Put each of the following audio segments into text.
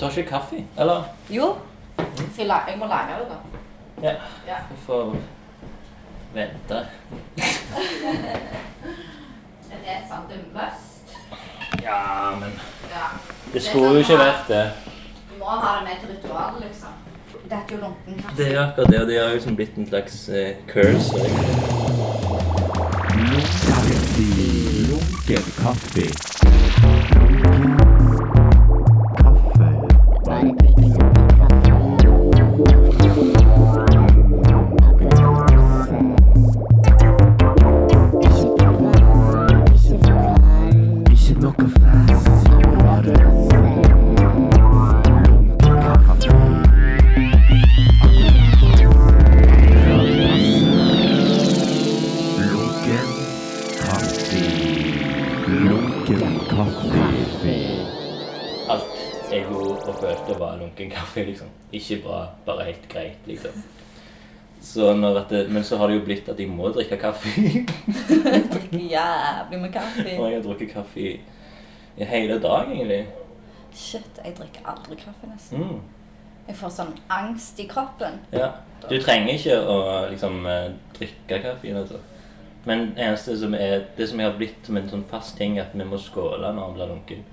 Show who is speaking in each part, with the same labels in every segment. Speaker 1: Du har ikke kaffe? Eller?
Speaker 2: Jo. Så jeg, la- jeg må lage det, da.
Speaker 1: Ja.
Speaker 2: Ja.
Speaker 1: Vi får vente.
Speaker 2: Er det sant? Du must?
Speaker 1: Ja, men
Speaker 2: Ja.
Speaker 1: Det skulle jo ikke vært det.
Speaker 2: Du må ha det med til ritualet, liksom. Det er jo lunken kaffe.
Speaker 1: Det er akkurat det, og det har jo som blitt en slags eh, curse. egentlig.
Speaker 3: Lunken kaffe. Ikke noe fast, bare lunken kaffe. Lunken kaffe. Lunken kaffe.
Speaker 1: Alt jeg gjorde og følte, var lunken kaffe. liksom. Ikke bra, bare helt greit. liksom. Så når at det, men så har det jo blitt at jeg må drikke kaffe.
Speaker 2: Drikker jævlig med
Speaker 1: Og
Speaker 2: kaffe.
Speaker 1: jeg har drukket kaffe i, i hele dag, egentlig.
Speaker 2: Shit, jeg drikker aldri kaffe, nesten.
Speaker 1: Mm,
Speaker 2: Jeg får sånn angst i kroppen.
Speaker 1: ja. Du trenger ikke å liksom eh, drikke kaffe. Altså. Men det eneste som er, det som jeg har blitt som en sånn fast ting, er at vi må skåle når han blir lunken.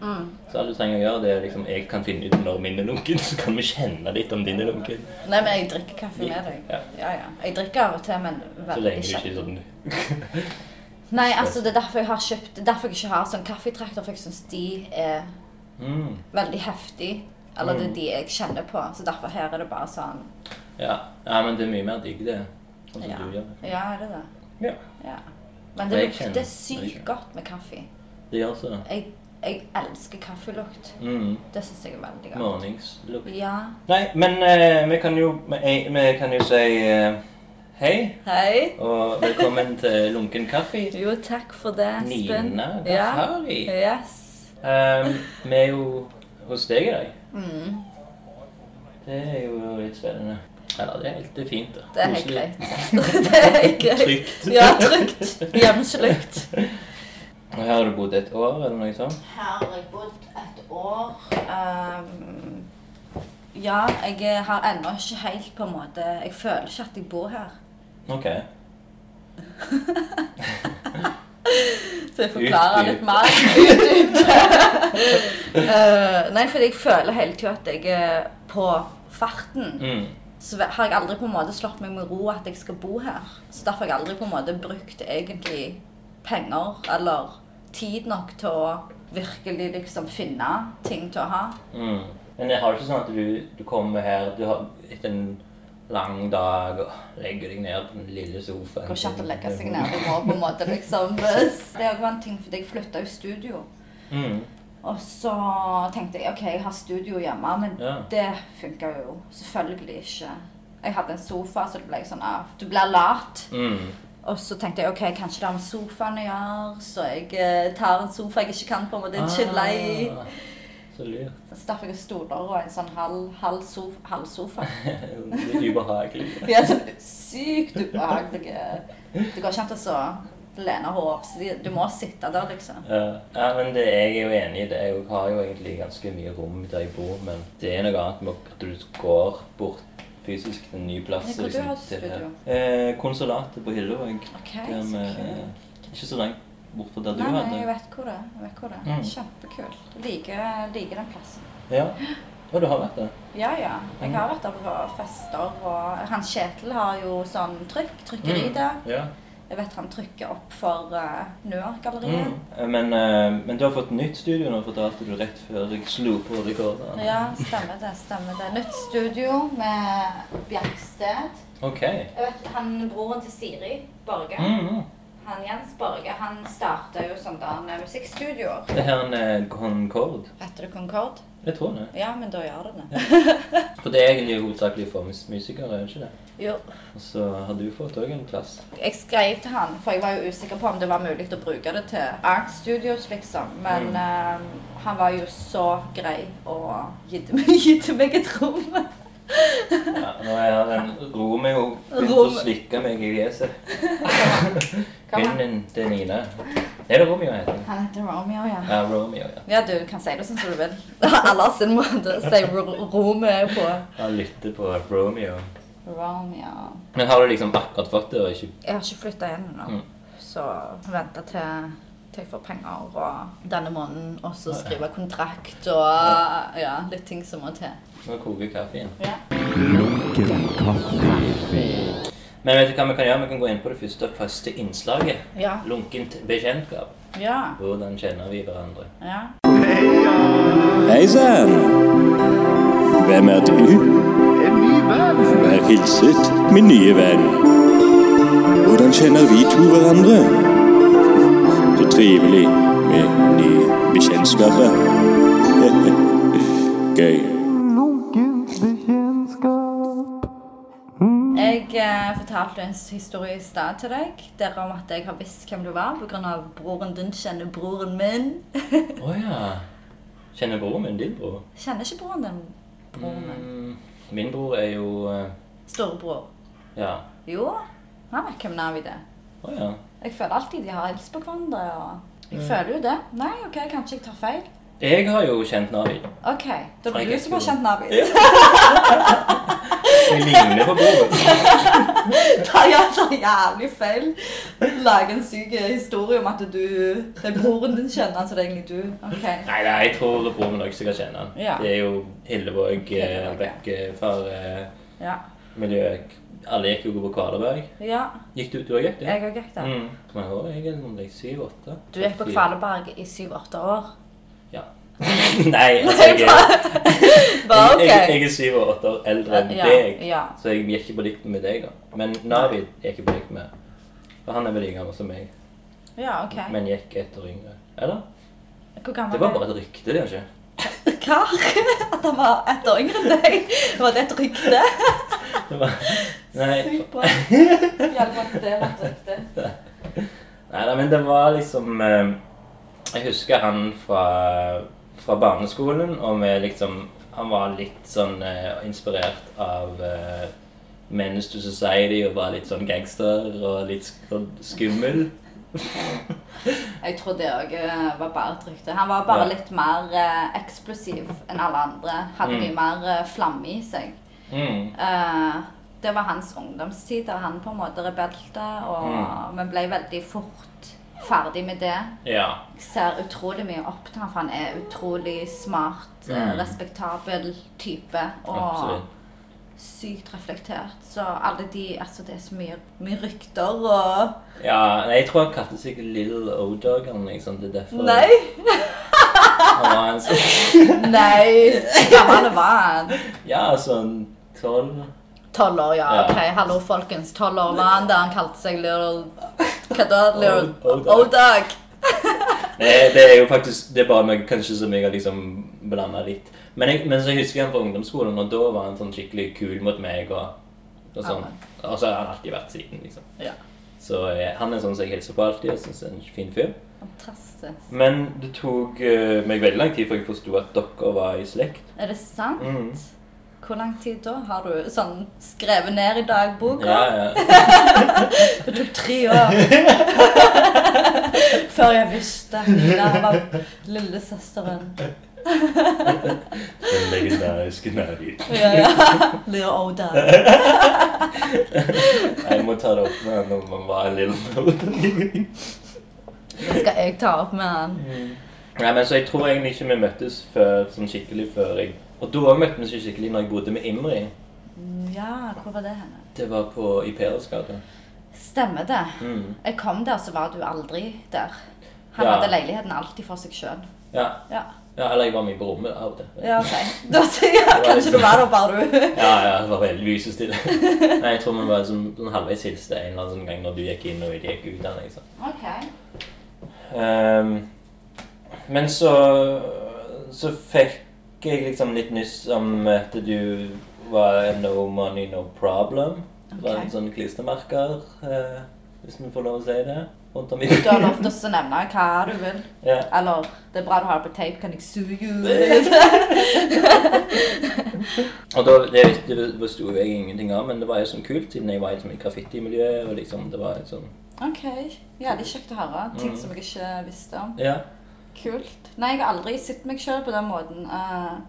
Speaker 1: Så alt du trenger å gjøre, det er liksom Jeg kan finne ut når min er lunken, så kan vi kjenne litt om din er lunken.
Speaker 2: Nei, men jeg drikker kaffe med deg.
Speaker 1: Ja.
Speaker 2: Ja, ja. Jeg drikker av og til, men
Speaker 1: Så
Speaker 2: veldig
Speaker 1: lenge du ikke er
Speaker 2: sjelden.
Speaker 1: sånn
Speaker 2: Nei, altså, det er derfor jeg har kjøpt Det er derfor jeg ikke har sånn kaffetrakter, for jeg syns de er
Speaker 1: mm,
Speaker 2: veldig heftig. Eller det er de jeg kjenner på, så derfor her er det bare sånn
Speaker 1: ja. ja, men det er mye mer digg, det. Sånn som
Speaker 2: Ja,
Speaker 1: du gjør det.
Speaker 2: ja er det det?
Speaker 1: Ja.
Speaker 2: Ja. Men
Speaker 1: Men
Speaker 2: det
Speaker 1: jeg
Speaker 2: lukter
Speaker 1: kjenner-
Speaker 2: sykt godt med kaffe.
Speaker 1: Det gjør så.
Speaker 2: Jeg, jeg elsker kaffelukt.
Speaker 1: Mm.
Speaker 2: Det syns jeg er veldig godt.
Speaker 1: Morningslukt.
Speaker 2: Ja.
Speaker 1: Nei, men eh, vi kan jo vi, vi kan jo si eh, hei.
Speaker 2: Hei.
Speaker 1: Og velkommen til Lunken kaffe.
Speaker 2: Jo, takk for det, Espen.
Speaker 1: Nina
Speaker 2: Ja.
Speaker 1: Gafari.
Speaker 2: Yes.
Speaker 1: Um, vi er jo hos deg i dag.
Speaker 2: Mm.
Speaker 1: Det er jo litt spennende. Eller det er helt det er fint. da.
Speaker 2: Det er helt
Speaker 1: Koselig.
Speaker 2: greit. Det er helt greit.
Speaker 1: Trygt.
Speaker 2: Ja, trygt. Hjemslukt.
Speaker 1: Og Her har du bodd et år, eller noe sånt?
Speaker 2: Her har jeg bodd et år. Ehm, ja, jeg er- har ennå ikke helt på en måte Jeg føler ikke at jeg bor her.
Speaker 1: Ok.
Speaker 2: Så jeg forklarer
Speaker 1: Utdyp.
Speaker 2: litt mer. Utdyp det. Eh, nei, fordi jeg føler hele tida at jeg er på farten.
Speaker 1: Mm.
Speaker 2: Så har jeg aldri på en måte slått meg med ro at jeg skal bo her. Så derfor har jeg aldri på en måte brukt egentlig penger eller tid nok til å virkelig liksom finne ting til å ha.
Speaker 1: Mm. Men jeg har ikke sånn at du, du kommer her du har etter en lang dag og legger deg ned på den lille sofaen.
Speaker 2: går ikke an å legge seg ned. Du må på en måte liksom Det er også en ting, fordi jeg flytta jo studio.
Speaker 1: Mm.
Speaker 2: Og så tenkte jeg OK, jeg har studio hjemme, men
Speaker 1: Ja.
Speaker 2: det funka jo selvfølgelig ikke. Jeg hadde en sofa, så det ble sånn ah, Du blir lat.
Speaker 1: Mm.
Speaker 2: Og så tenkte jeg OK, kanskje det har med sofaen å gjøre, så jeg eh, tar en sofa jeg ikke kan på en måte chille i.
Speaker 1: Ah, Så lurt.
Speaker 2: Så derfor jeg stoler og en sånn halv, halv, sof, halv sofa.
Speaker 1: Litt ubehagelig.
Speaker 2: De er så sykt ubehagelige. Det går ikke an til å lene hodet, så de- du må sitte der, liksom.
Speaker 1: Ja, ja, men det, jeg er jo enig i det. Jeg har jo egentlig ganske mye rom der jeg bor, men det er noe annet med at du går bort fysisk til en ny plass. liksom,
Speaker 2: Hvor du har
Speaker 1: til
Speaker 2: studio?
Speaker 1: her. Eh, konsulatet på Hyllevåg.
Speaker 2: Ok,
Speaker 1: Der
Speaker 2: så
Speaker 1: med- eh,
Speaker 2: kult.
Speaker 1: Ikke så langt bort fra der du
Speaker 2: Nei, nei, jeg
Speaker 1: hadde.
Speaker 2: vet hvor det er. Jeg vet hvor det er.
Speaker 1: Mm.
Speaker 2: Kjempekult. Liker, liker den plassen.
Speaker 1: Ja. Og du har vært der?
Speaker 2: Ja, ja. Jeg
Speaker 1: Mm.
Speaker 2: har vært der på fester, og han Kjetil har jo sånn trykk, trykkeri
Speaker 1: Mm.
Speaker 2: der.
Speaker 1: Ja.
Speaker 2: Jeg vet han trykker opp for uh, Nøer-galleriet.
Speaker 1: Mm. Eh, Men, eh, men du har fått nytt studio nå, fortalte du rett før jeg slo på rekorderen.
Speaker 2: Ja, stemmer det, stemmer det. Nytt studio med Bjerksted.
Speaker 1: Ok.
Speaker 2: Jeg vet, han broren til Siri, Borge.
Speaker 1: Mm, mm.
Speaker 2: Han Jens Borge, han starta jo sånn der med musikkstudioer.
Speaker 1: Det her er en Concord.
Speaker 2: Heter det Concord?
Speaker 1: Jeg tror det.
Speaker 2: Ja, men da gjør det det.
Speaker 1: For det er egentlig hovedsakelig for mus- musikere, er det ikke det?
Speaker 2: Jo,
Speaker 1: Og så har du fått òg en plass.
Speaker 2: jeg skrev til han, for jeg var jo usikker på om det var mulig å bruke det til art studios, liksom. Men eh, han var jo så grei og gitte meg, gitte meg et rom.
Speaker 1: Ja, nå er jeg den roer meg jo begynt å
Speaker 2: Roer meg.
Speaker 1: slikke meg i fjeset.
Speaker 2: Hva var-
Speaker 1: Hunden til Nina Er det Romeo heter han?
Speaker 2: Han heter Romeo, ja.
Speaker 1: Ja, Romeo, ja.
Speaker 2: Ja, du kan si det sånn som du vil. Alle har sin måte å si Ro- Romeo på.
Speaker 1: Han lytter på Romeo.
Speaker 2: Romeo.
Speaker 1: Men har du liksom akkurat fått det og ikke
Speaker 2: Jeg har ikke flytta inn ennå,
Speaker 1: Mm.
Speaker 2: så vente til til jeg får penger og denne måneden, og så skrive kontrakt og ja, litt ting som må til.
Speaker 1: Nå koker kaffen.
Speaker 2: Ja.
Speaker 3: Lunken kaffe.
Speaker 1: Men vet du hva vi kan gjøre? Vi kan gå inn på det første første innslaget.
Speaker 2: Ja.
Speaker 1: Lunkent bekjentskap.
Speaker 2: ja.
Speaker 1: Hvordan kjenner vi hverandre?
Speaker 2: ja.
Speaker 4: Hei sann! Hvem er du? En ny venn. Vær hilset, min nye venn. Hvordan kjenner vi to hverandre? Så trivelig med nye bekjentskaper. Gøy.
Speaker 2: Jeg eh, fortalte en historie i stad til deg der om at jeg har visst hvem du var pga. broren din kjenner broren min.
Speaker 1: Å ja. Kjenner broren min din bror?
Speaker 2: Kjenner ikke broren din broren min?
Speaker 1: Mm, Min bror er jo eh,
Speaker 2: Storebror.
Speaker 1: Ja.
Speaker 2: Jo, han vet hvem Navid er.
Speaker 1: Å ja.
Speaker 2: Jeg føler alltid de har hilst på hverandre. og
Speaker 1: Mm.
Speaker 2: Jeg føler jo det. Nei, ok, kanskje jeg tar feil.
Speaker 1: Jeg har jo kjent Navid.
Speaker 2: Ok, da blir
Speaker 1: Ok,
Speaker 2: du som har
Speaker 1: jo.
Speaker 2: kjent Navid.
Speaker 1: Ja. Jeg ligner på broren.
Speaker 2: Da gjør jeg så jævlig feil. Lage en syk historie om at du Det er broren din kjenner han, så det er egentlig du. Ok.
Speaker 1: Nei, nei, jeg tror broren min også kan kjenne han.
Speaker 2: Ja.
Speaker 1: Det er jo Hillevåg, eh,
Speaker 2: Hillevåg, ja.
Speaker 1: Bekkefar, eh,
Speaker 2: Ja.
Speaker 1: miljøet Alle gikk jo på Kvalerberg.
Speaker 2: ja.
Speaker 1: Gikk du du òg, gikk du?
Speaker 2: Jeg har gikk der.
Speaker 1: Mm. Men jeg var egentlig om det er syv-åtte.
Speaker 2: Du gikk på Kvaleberg i syv-åtte år.
Speaker 1: Ja. Nei, altså jeg er,
Speaker 2: Bare
Speaker 1: jeg, jeg,
Speaker 2: ok.
Speaker 1: jeg er syv og åtte år eldre enn
Speaker 2: Ja,
Speaker 1: deg,
Speaker 2: ja.
Speaker 1: så jeg gikk ikke på likt med deg. da. Men Navid gikk jeg på likt med. For han er vel like gammel som meg,
Speaker 2: Ja, ok.
Speaker 1: men gikk ett år yngre. Eller?
Speaker 2: Hvor gammel
Speaker 1: Det var bare et rykte, det, ikke?
Speaker 2: Hva? At han var ett år yngre enn deg? Var det et rykte?
Speaker 1: Det var, nei,
Speaker 2: Sykt bra. Hjelper at det var et rykte.
Speaker 1: nei, nei, men det var liksom eh, Jeg husker han fra, fra barneskolen, og vi liksom Han var litt sånn eh, inspirert av eh, Menace to Society og var litt sånn gangster og litt sk- skummel.
Speaker 2: Jeg tror det òg var bare et rykte. Han var bare
Speaker 1: Ja.
Speaker 2: litt mer eh, eksplosiv enn alle andre. Hadde mye mer eh, flamme i seg.
Speaker 1: Mm.
Speaker 2: Eh, det var hans ungdomstid, der han på en måte rebelte,
Speaker 1: Mm.
Speaker 2: og vi ble veldig fort ferdig med det.
Speaker 1: Ja.
Speaker 2: Jeg ser utrolig mye opp til ham, for han er utrolig smart, eh,
Speaker 1: Mm.
Speaker 2: respektabel type. Og
Speaker 1: Absolutt.
Speaker 2: sykt reflektert. Så alle de Altså, det er så mye, mye rykter og
Speaker 1: Ja, nei, jeg tror han kalte seg Little O-Dog. Han liksom, det er derfor
Speaker 2: Nei!
Speaker 1: han var en sånn
Speaker 2: Nei! Gammel var han.
Speaker 1: Ja, sånn tolv
Speaker 2: Tolv år, ja.
Speaker 1: Ja.
Speaker 2: Ok, hallo, folkens. Tolv år var han der han kalte seg Little Hva da? Little
Speaker 1: Old- Old Dog.
Speaker 2: Old Dog.
Speaker 1: Eh, det, det er jo faktisk Det er bare noe kanskje som jeg har liksom blanda litt. Men, jeg, men så husker jeg han fra ungdomsskolen, og da var han sånn skikkelig kul mot meg. Og, og sånn. Og så har han alltid vært siden, liksom.
Speaker 2: Ja.
Speaker 1: Så eh, han er sånn som jeg hilser på alltid, og syns er en fin fyr.
Speaker 2: Fantastisk.
Speaker 1: Men det tok eh, meg veldig lang tid før jeg forsto at dere var i slekt.
Speaker 2: Er det sant?
Speaker 1: Mm.
Speaker 2: Hvor lang tid da? Har du sånn skrevet ned i dagboka?
Speaker 1: Ja, ja.
Speaker 2: Det tok tre år før jeg visste at Nina var lillesøsteren.
Speaker 1: Den legendariske Navid.
Speaker 2: Ja, ja. Little Old Dog.
Speaker 1: Jeg må ta det opp med henne om han var en lille
Speaker 2: Det skal jeg ta opp med han.
Speaker 1: Mm. Nei, men så Jeg tror egentlig ikke vi møttes før, sånn skikkelig før jeg Og da også møtte vi oss ikke skikkelig når jeg bodde med Imri.
Speaker 2: Ja, hvor var det henne?
Speaker 1: Det var på i Peresgata.
Speaker 2: Stemmer det.
Speaker 1: Mm.
Speaker 2: Jeg kom der, så var du aldri der. Han
Speaker 1: Ja.
Speaker 2: hadde leiligheten alltid for seg sjøl.
Speaker 1: Ja.
Speaker 2: Ja.
Speaker 1: ja. Eller jeg var mye på rommet av og til.
Speaker 2: ja, ok. Da sier jeg kanskje du var der bare du.
Speaker 1: Ja, ja, det var veldig lysestille. Nei, jeg tror vi var sånn, sånn halvveis hilste en eller annen sånn gang når du gikk inn og jeg gikk ut. Eller, liksom.
Speaker 2: Ok.
Speaker 1: Ehm, men så Så fikk jeg liksom litt nyss om at du var en no money, no problem. Det var
Speaker 2: Ok.
Speaker 1: en sånn klistremerker, eh, hvis vi får lov å si det. Rundt om i
Speaker 2: Du har lov til å nevne hva du vil.
Speaker 1: ja.
Speaker 2: Eller det er bra du har det på tape, kan jeg sue you?
Speaker 1: Og da, det, det forsto jeg ingenting av, men det var jo sånn kult, siden jeg var i sånn graffitimiljøet. og liksom, det var jo sånn
Speaker 2: OK. Jævlig kjekt å høre.
Speaker 1: Mm.
Speaker 2: Ting som jeg ikke visste om.
Speaker 1: Ja.
Speaker 2: Kult. Nei, jeg har aldri sett meg sjøl på den måten. eh,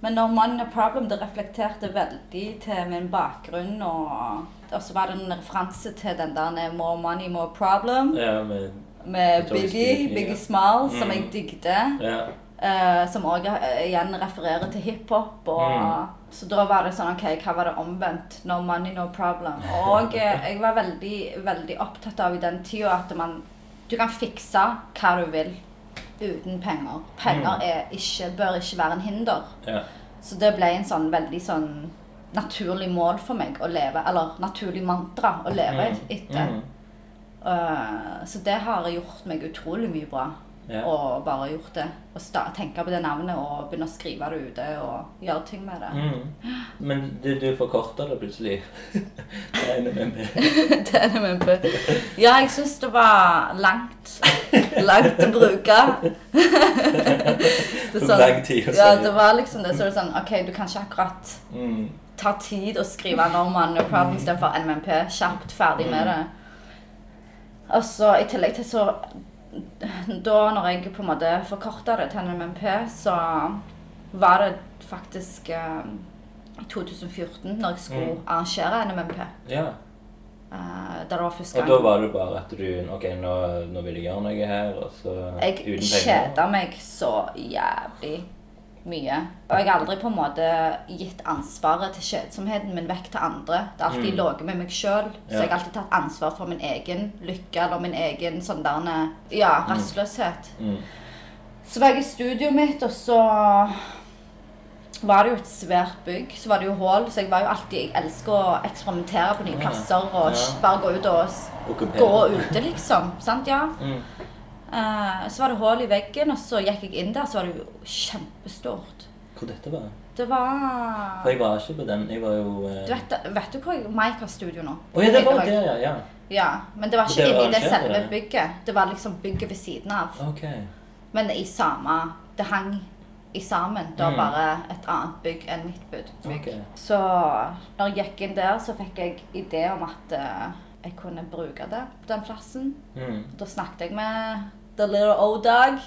Speaker 2: men når 'Mannen er problem' det reflekterte veldig til min bakgrunn. Og, og så var det en referanse til den der 'More money, more problem'
Speaker 1: ja, men,
Speaker 2: med
Speaker 1: Victoria's Secret,
Speaker 2: Biggie,
Speaker 1: ja.
Speaker 2: Biggie Smile, som
Speaker 1: Mm.
Speaker 2: jeg digget.
Speaker 1: ja.
Speaker 2: eh, som òg igjen refererer til hiphop. Og,
Speaker 1: Mm.
Speaker 2: Så da var det sånn OK, hva var det omvendt? No money, no problem. Og eh, jeg var veldig, veldig opptatt av i den tida at man Du kan fikse hva du vil uten penger.
Speaker 1: Mm.
Speaker 2: Penger er ikke, bør ikke være en hinder.
Speaker 1: ja.
Speaker 2: Så det ble en sånn veldig sånn naturlig mål for meg å leve, eller naturlig mantra å leve
Speaker 1: Mm.
Speaker 2: etter.
Speaker 1: Mm.
Speaker 2: Eh, så det har gjort meg utrolig mye bra.
Speaker 1: Ja.
Speaker 2: Og bare gjort det. Og sta tenke på det navnet og begynne å skrive det ute og gjøre ting med det.
Speaker 1: Mm. Men du, du forkorter det plutselig. Det er NMMP.
Speaker 2: det er det min bø. Ja, jeg syns det var langt. Langt å bruke. det
Speaker 1: Lang tid å si.
Speaker 2: ja, det var liksom det. Så er det sånn OK, du kan ikke akkurat
Speaker 1: Mm.
Speaker 2: ta tid å skrive Norman og Problem istedenfor NMP. Kjapt ferdig
Speaker 1: Mm.
Speaker 2: med det. Og så i tillegg til så Da når jeg på en måte forkorta det til NMP, så var det faktisk eh, i 2014, når jeg skulle
Speaker 1: Mm.
Speaker 2: arrangere NMP.
Speaker 1: Ja.
Speaker 2: eh, da det var første
Speaker 1: Og da
Speaker 2: gang.
Speaker 1: var det bare at du Ok, nå, nå vil jeg gjøre noe her, og så
Speaker 2: Jeg kjeda meg så jævlig mye. Og jeg har aldri på en måte gitt ansvaret til kjedsomheten min vekk til andre. Det har alltid
Speaker 1: Mm.
Speaker 2: ligget med meg sjøl. Så
Speaker 1: Ja.
Speaker 2: jeg har alltid tatt ansvar for min egen lykke eller min egen sånn derne, ja, rastløshet.
Speaker 1: Mm.
Speaker 2: Så var jeg i studioet mitt, og så var det jo et svært bygg. Så var det jo hull, så jeg var jo alltid Jeg elsker å eksperimentere på nye
Speaker 1: Ja.
Speaker 2: plasser og
Speaker 1: Ja.
Speaker 2: bare gå ut og s-
Speaker 1: Okkupere.
Speaker 2: gå ute, liksom. Sant? Ja.
Speaker 1: Mm.
Speaker 2: Eh, så var det hull i veggen, og så gikk jeg inn der, så var det jo kjempestort.
Speaker 1: Hvor dette var?
Speaker 2: Det var
Speaker 1: For jeg var ikke på den. Jeg var jo eh,
Speaker 2: du vet, vet du hvor jeg- Mike har studio nå?
Speaker 1: Å ja, det var
Speaker 2: Jeg-
Speaker 1: der, ja. ja.
Speaker 2: Ja, Men det var ikke
Speaker 1: Det var
Speaker 2: inni det
Speaker 1: arrangert,
Speaker 2: selve
Speaker 1: eller?
Speaker 2: bygget. Det var liksom bygget ved siden av.
Speaker 1: Ok.
Speaker 2: Men i samme Det hang i sammen. Det var
Speaker 1: Mm.
Speaker 2: bare et annet bygg enn mitt bygg.
Speaker 1: ok.
Speaker 2: Så når jeg gikk inn der, så fikk jeg idé om at eh, jeg kunne bruke det på den plassen.
Speaker 1: Mm.
Speaker 2: Da snakket jeg med The Little Old Dog.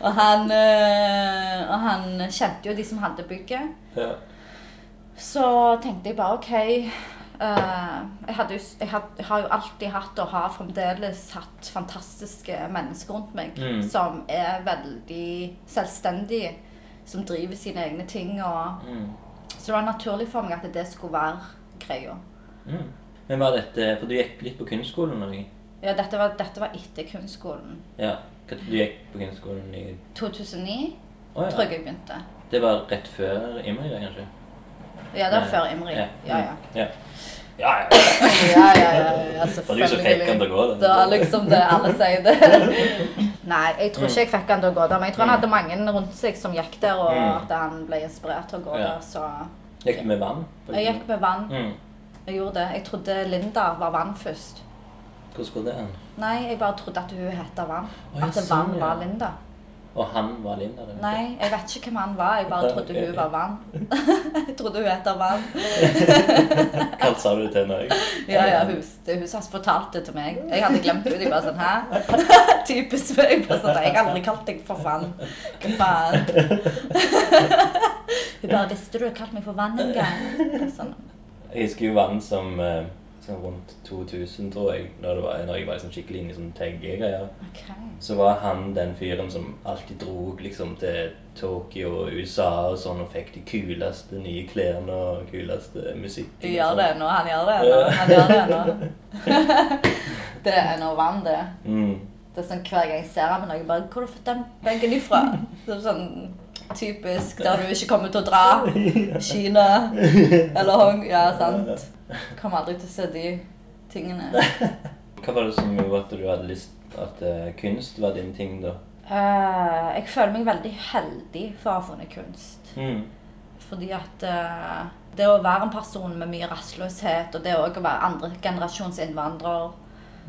Speaker 2: og, han, eh, og han kjente jo de som hadde bygget.
Speaker 1: Ja.
Speaker 2: Så tenkte jeg bare OK eh, jeg, hadde, jo s- jeg, had, jeg har jo alltid hatt og har fremdeles hatt fantastiske mennesker rundt meg
Speaker 1: Mm.
Speaker 2: som er veldig selvstendige, som driver sine egne ting. Og,
Speaker 1: Mm.
Speaker 2: så det var naturlig for meg at det skulle være greia.
Speaker 1: Mm. Men var dette For du gikk litt på kunstskolen òg?
Speaker 2: Ja, dette var, dette var etter kunstskolen.
Speaker 1: Ja. Hva- Du gikk på kunstskolen i
Speaker 2: 2009
Speaker 1: Å
Speaker 2: tror
Speaker 1: ja.
Speaker 2: jeg jeg begynte.
Speaker 1: Det var rett før Imri, det, kanskje?
Speaker 2: Ja, det var før Imri. Ja,
Speaker 1: Ja. Mm.
Speaker 2: ja.
Speaker 1: Ja, ja. ja.
Speaker 2: ja, ja, ja, ja
Speaker 1: Og du er så fekk han til å gå, da.
Speaker 2: Det er liksom det alle sier det. Nei, jeg tror ikke jeg fikk han til å gå der, men jeg tror han hadde mange rundt seg som gikk der, og
Speaker 1: Mm.
Speaker 2: at han ble inspirert til å gå
Speaker 1: Ja.
Speaker 2: der, så
Speaker 1: Gikk du med vann?
Speaker 2: Jeg gikk med vann.
Speaker 1: Mm.
Speaker 2: Jeg gjorde det. Jeg trodde Linda var vann først.
Speaker 1: Hvordan går det an?
Speaker 2: Nei, jeg bare trodde at hun hette Vann.
Speaker 1: Å, ja,
Speaker 2: At Vann
Speaker 1: sånn, ja.
Speaker 2: var Linda.
Speaker 1: Og han var Linda? det vet jeg.
Speaker 2: Nei, jeg vet ikke hvem han var. Jeg bare trodde hun var Vann. jeg trodde hun het Vann.
Speaker 1: Hva sa du til henne?
Speaker 2: Ja, ja, hun, det, hun som fortalte det til meg. Jeg hadde glemt det. Jeg bare sånn, hæ? Typisk meg. Jeg bare sånn, jeg har aldri kalt deg for vann. Hva faen? Hun bare, visste du har kalt meg for vann en gang? Jeg bare Sånn,
Speaker 1: Jeg husker jo vann som, eh, som rundt 2000, tror jeg, når, det var, når jeg var liksom skikkelig inne i sånn tagge-greier,
Speaker 2: ok.
Speaker 1: så var han den fyren som alltid dro liksom til Tokyo og USA og sånn og fikk de kuleste nye klærne og kuleste musikken.
Speaker 2: Du
Speaker 1: og
Speaker 2: gjør det
Speaker 1: sånn.
Speaker 2: nå, han gjør det nå, han gjør det nå. Det er nå vann det.
Speaker 1: Mm.
Speaker 2: Det er sånn hver gang jeg ser ham, jeg bare, hvor har du fått den benken ifra? Så er det sånn typisk, der du ikke kommer til å dra. Kina, eller Hong, ja, sant. Kommer aldri til å se de tingene.
Speaker 1: Hva var det som gjorde at du hadde lyst at eh, kunst var din ting, da?
Speaker 2: Eh, jeg føler meg veldig heldig for å ha funnet kunst.
Speaker 1: Mm.
Speaker 2: Fordi at eh, det å være en person med mye rastløshet, og det å også være andre generasjons innvandrer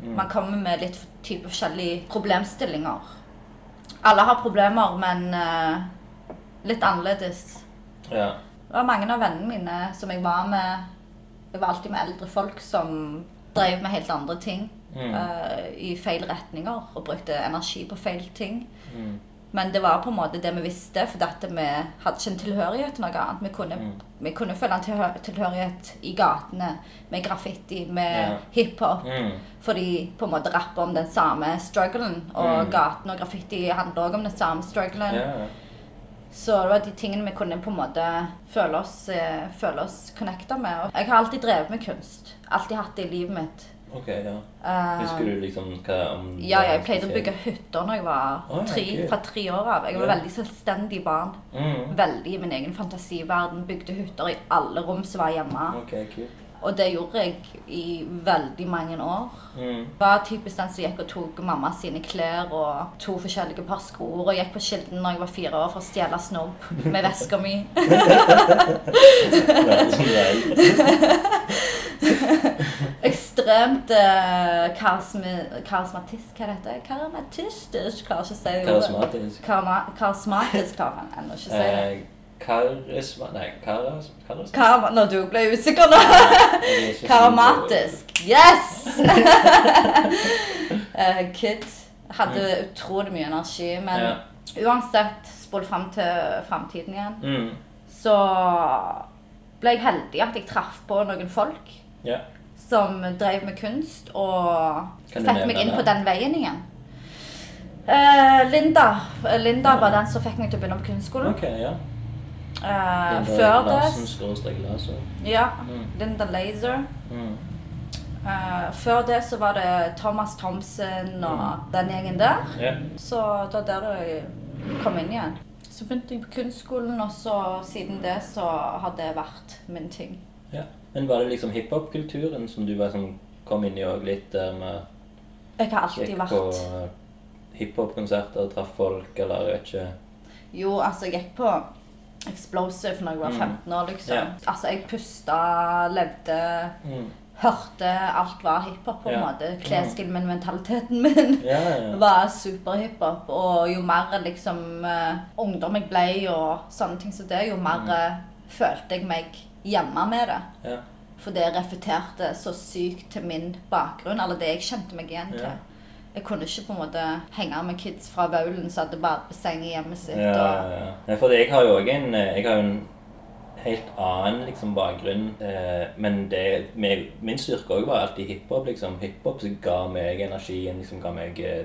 Speaker 2: Man kommer med litt type forskjellige problemstillinger. Alle har problemer, men eh, litt annerledes.
Speaker 1: Ja.
Speaker 2: Det var mange av vennene mine som jeg var med Jeg var alltid med eldre folk som drev med helt andre ting
Speaker 1: Mm.
Speaker 2: eh, i feil retninger og brukte energi på feil ting.
Speaker 1: Mm.
Speaker 2: Men det var på en måte det vi visste, for dette vi hadde ikke en tilhørighet til noe annet. Vi kunne,
Speaker 1: Mm.
Speaker 2: vi kunne føle en tilhø- tilhørighet i gatene, med graffiti, med
Speaker 1: Ja.
Speaker 2: hiphop.
Speaker 1: Mm.
Speaker 2: Fordi på en måte rapper om den samme strugglen, og
Speaker 1: Mm.
Speaker 2: gaten og graffiti handler også om den samme strugglen.
Speaker 1: Ja.
Speaker 2: Så det var de tingene vi kunne på en måte føle oss, eh, føle oss connecta med. Og jeg har alltid drevet med kunst. Alltid hatt det i livet mitt.
Speaker 1: Ok, ja.
Speaker 2: Eh,
Speaker 1: Husker du liksom hva om det
Speaker 2: ja,
Speaker 1: var
Speaker 2: jeg pleide å
Speaker 1: spesielt?
Speaker 2: bygge hytter når jeg var
Speaker 1: Å, ja,
Speaker 2: tre,
Speaker 1: kult.
Speaker 2: fra tre år av. Jeg var
Speaker 1: Ja.
Speaker 2: veldig selvstendig barn.
Speaker 1: mm.
Speaker 2: Veldig i min egen fantasiverden. Bygde hytter i alle rom som var hjemme.
Speaker 1: Ok, kult.
Speaker 2: Og det gjorde jeg i veldig mange år.
Speaker 1: Mm.
Speaker 2: Var typisk den som gikk og tok mamma sine klær og to forskjellige par sko og gikk på Kilden når jeg var fire år for å stjele snobb med veska mi.
Speaker 1: Det er som det er.
Speaker 2: Ekstremt eh, karismi- karismatisk Hva heter det? Karismatistisk? Klarer ikke å si det ordet.
Speaker 1: Karismatisk.
Speaker 2: Karma- Karismatisk klarer jeg ennå ikke å si det.
Speaker 1: Eh, karisma... Nei, karas... karas...
Speaker 2: Karma, når du ble usikker nå.
Speaker 1: jeg er ikke så god på-
Speaker 2: Karmatisk. Yes! Eh, Kid hadde utrolig mye energi, men
Speaker 1: Mm. Ja.
Speaker 2: uansett, spol fram til framtiden igjen,
Speaker 1: Mm.
Speaker 2: så ble jeg heldig at jeg traff på noen folk
Speaker 1: Ja.
Speaker 2: som drev med kunst, og
Speaker 1: Kan du
Speaker 2: fikk meg
Speaker 1: nevne
Speaker 2: inn
Speaker 1: det?
Speaker 2: på den veien igjen. Eh, Linda Linda var den som fikk meg til å begynne på kunstskolen.
Speaker 1: Ok, ja.
Speaker 2: Eh,
Speaker 1: Linda
Speaker 2: før
Speaker 1: Larsen,
Speaker 2: det
Speaker 1: skråstrek Laser.
Speaker 2: ja,
Speaker 1: Mm.
Speaker 2: Linda Laser.
Speaker 1: Mm.
Speaker 2: Eh, før det så var det Thomas Thomsen og den gjengen der.
Speaker 1: Ja.
Speaker 2: Så det var der jeg kom inn igjen. Så begynte jeg på kunstskolen, og så siden det så har det vært min ting.
Speaker 1: ja. Men var det liksom hiphop-kulturen som du var sånn, kom inn i òg litt der med
Speaker 2: Jeg har alltid
Speaker 1: Gikk
Speaker 2: vært
Speaker 1: på eh, hiphop-konserter, traff folk eller jeg vet ikke.
Speaker 2: Jo, altså, jeg gikk på Explosive når jeg var
Speaker 1: Mm.
Speaker 2: 15 år, liksom.
Speaker 1: Ja.
Speaker 2: Altså, jeg pusta, levde,
Speaker 1: Mm.
Speaker 2: hørte. Alt var hiphop, på en
Speaker 1: Ja. Mm.
Speaker 2: måte. Klesstilen min, mentaliteten min.
Speaker 1: Ja, ja.
Speaker 2: var superhiphop, og jo mer liksom eh, ungdom jeg ble og sånne ting som det, jo
Speaker 1: Mm.
Speaker 2: mer eh, følte jeg meg hjemme med det.
Speaker 1: ja.
Speaker 2: For det reflekterte så sykt til min bakgrunn, eller det jeg kjente meg igjen til.
Speaker 1: Ja.
Speaker 2: Jeg kunne ikke på en måte henge med kids fra Baulen som hadde badebasseng i hjemmet sitt.
Speaker 1: Ja,
Speaker 2: og...
Speaker 1: ja, ja. Nei, For jeg har jo òg en eh, Jeg har jo en helt annen liksom, bakgrunn. Eh, men det, meg, min styrke òg var alltid hiphop. Liksom. Hiphop som ga meg energien, liksom, ga meg eh,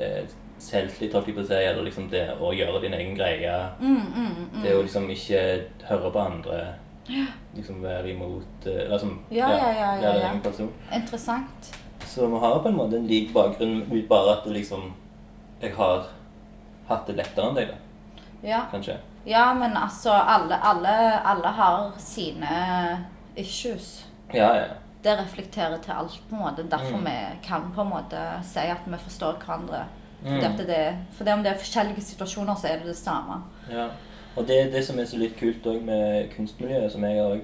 Speaker 1: eh, selvtillit, holdt jeg på å si, eller liksom det å gjøre din egen greie.
Speaker 2: Mm,
Speaker 1: Det å liksom ikke høre på andre. Liksom være imot eh, Eller som
Speaker 2: Ja, ja, ja, ja,
Speaker 1: være din
Speaker 2: ja.
Speaker 1: egen person.
Speaker 2: Interessant.
Speaker 1: Så vi har på en måte en lik bakgrunn, bare at det liksom Jeg har hatt det lettere enn deg, da,
Speaker 2: Ja.
Speaker 1: kanskje.
Speaker 2: ja, men altså, alle, alle, alle har sine issues.
Speaker 1: Ja, ja.
Speaker 2: det reflekterer til alt, på en måte. Derfor
Speaker 1: Mm.
Speaker 2: vi kan på en måte si at vi forstår hverandre.
Speaker 1: Mm.
Speaker 2: Fordi at det, for det om det er forskjellige situasjoner, så er det det samme.
Speaker 1: Ja. Og det er det som er så litt kult også med kunstmiljøet, som jeg har også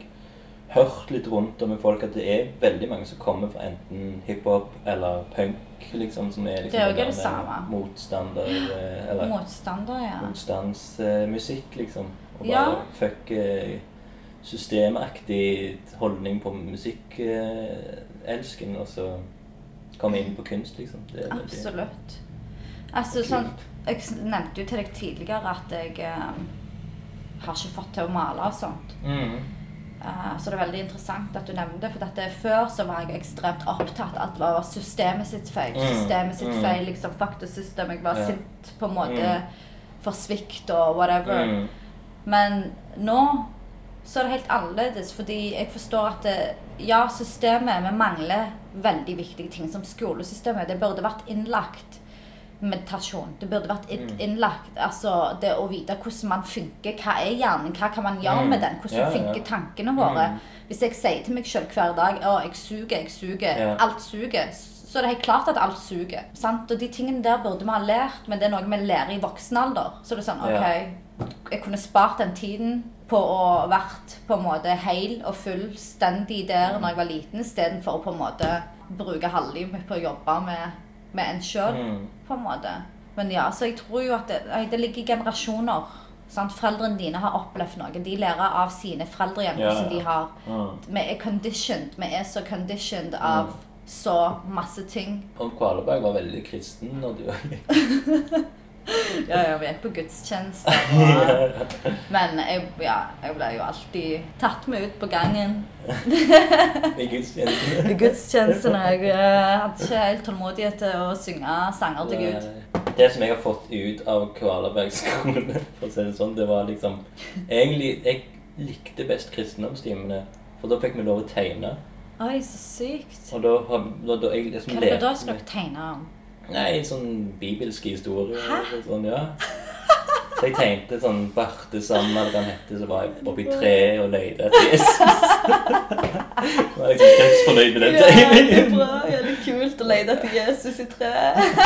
Speaker 1: hørt litt rundt om med folk, at det er veldig mange som kommer fra enten hiphop eller punk, liksom, som er liksom
Speaker 2: Det er jo ikke
Speaker 1: den
Speaker 2: det
Speaker 1: der
Speaker 2: samme.
Speaker 1: motstander eh, Eller
Speaker 2: Motstandere, ja.
Speaker 1: motstandsmusikk, liksom. Og bare
Speaker 2: Ja.
Speaker 1: fuck eh, systemaktig holdning på musikkelsken, og så komme inn på kunst, liksom. Det er veldig-
Speaker 2: Absolutt. Altså, sånn, jeg s- nevnte jo til deg tidligere at jeg eh, har ikke fått til å male og sånt.
Speaker 1: Mm.
Speaker 2: Eh, så det er veldig interessant at du nevner det. For dette før så var jeg ekstremt opptatt av at det var systemet sitt feil.
Speaker 1: Mm,
Speaker 2: Systemet sitt
Speaker 1: mm.
Speaker 2: feil, liksom faktasystem. Jeg var
Speaker 1: Ja.
Speaker 2: sint på en måte
Speaker 1: Mm.
Speaker 2: for svikt og whatever.
Speaker 1: Mm.
Speaker 2: Men nå så er det helt annerledes, fordi jeg forstår at det, ja, systemet Vi mangler veldig viktige ting som skolesystemet. Det burde vært innlagt meditasjon. Det burde vært inn-
Speaker 1: Mm.
Speaker 2: innlagt altså det å vite hvordan man funker. Hva er hjernen? Hva kan man gjøre
Speaker 1: Mm.
Speaker 2: med den? Hvordan
Speaker 1: Ja, ja.
Speaker 2: funker tankene våre?
Speaker 1: Mm.
Speaker 2: Hvis jeg sier til meg sjøl hver dag å, jeg suger, jeg suger,
Speaker 1: Ja.
Speaker 2: alt suger, så er det helt klart at alt suger. sant? Og de tingene der burde vi ha lært, men det er noe vi lærer i voksen alder. Så det er sånn,
Speaker 1: Ja.
Speaker 2: ok, jeg kunne spart den tiden på å vært på en måte hel og fullstendig der når jeg var liten, istedenfor å på en måte bruke halvlivet mitt på å jobbe med, med en sjøl,
Speaker 1: Mm.
Speaker 2: på en måte. Men ja, så jeg tror jo at det, nei, det ligger i generasjoner. Sant? Foreldrene dine har opplevd noe. De lærer av sine foreldre igjen
Speaker 1: Ja,
Speaker 2: hvordan
Speaker 1: ja.
Speaker 2: de har
Speaker 1: Mm.
Speaker 2: Vi er conditioned. Vi er så conditioned av så masse ting.
Speaker 1: Og Kvalerberg var veldig kristen når du
Speaker 2: Ja, ja, vi gikk på gudstjenester. og- Men jeg, ja, jeg ble jo alltid tatt med ut på gangen
Speaker 1: i gudstjenesten.
Speaker 2: i gudstjenestene. Jeg eh, hadde ikke helt tålmodighet til å synge sanger til Gud.
Speaker 1: Eh, Det som jeg har fått ut av Kvalerberg skole, for å si det sånn, det var liksom Egentlig, jeg likte best kristendomstimene, for da fikk vi lov å tegne.
Speaker 2: Oi, så sykt.
Speaker 1: Og da, har- da, da jeg liksom
Speaker 2: Hva er det da
Speaker 1: lekte
Speaker 2: skal dere
Speaker 1: med-
Speaker 2: tegne om?
Speaker 1: Nei, sånn bibelske historier og sånn, ja. Så jeg tegnte sånn Barte Sammer, han hette, så var jeg oppi treet og løyde etter Jesus. Jeg var liksom dødsfornøyd med den tegningen.
Speaker 2: bra. Ja, det er kult å lete etter Jesus i treet.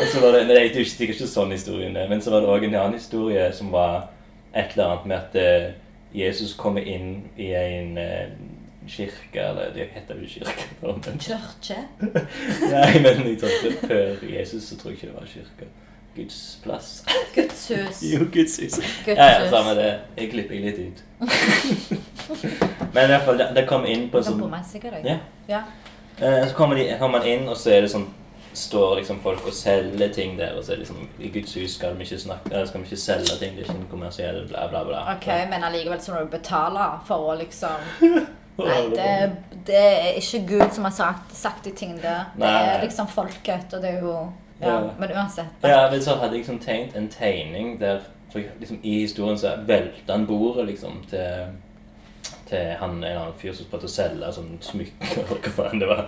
Speaker 1: Og så var det, nei, det er jo sikkert ikke sånn historien er, men så var det også en annen historie som var et eller annet med at eh, Jesus kommer inn i en eh, kirke, eller det heter jo kirke. da, men-
Speaker 2: Kirke.
Speaker 1: Nei, men jeg tror ikke før Jesus så tror jeg ikke det var kirke. Guds plass.
Speaker 2: Guds hus.
Speaker 1: Jo, Guds hus.
Speaker 2: Guds
Speaker 1: Ja, ja,
Speaker 2: hus.
Speaker 1: samme det. Jeg klipper litt ut. men i hvert fall, det, det kom inn på
Speaker 2: Du kan
Speaker 1: sånn...
Speaker 2: bomme sikkert
Speaker 1: Ja.
Speaker 2: deg. Ja.
Speaker 1: Eh, Så kommer, de, kommer man inn, og så er det sånn står liksom folk og selger ting der. Og så er det liksom I Guds hus skal vi ikke, snakke, eller skal vi ikke selge ting. Det er ikke kommersielt, bla, bla, bla.
Speaker 2: Ok, men allikevel så må du betale for å liksom
Speaker 1: Og-
Speaker 2: Nei, det, det er ikke Gud som har sagt, sagt de tingene der. Det
Speaker 1: Nei.
Speaker 2: er liksom folket, og det er jo ja,
Speaker 1: Ja.
Speaker 2: Men uansett.
Speaker 1: Ja, men så hadde jeg liksom tegnet en tegning der for liksom, I historien så velta han bordet liksom til til han en eller annen fyr som prøvde å selge sånn smykke eller hva faen det var.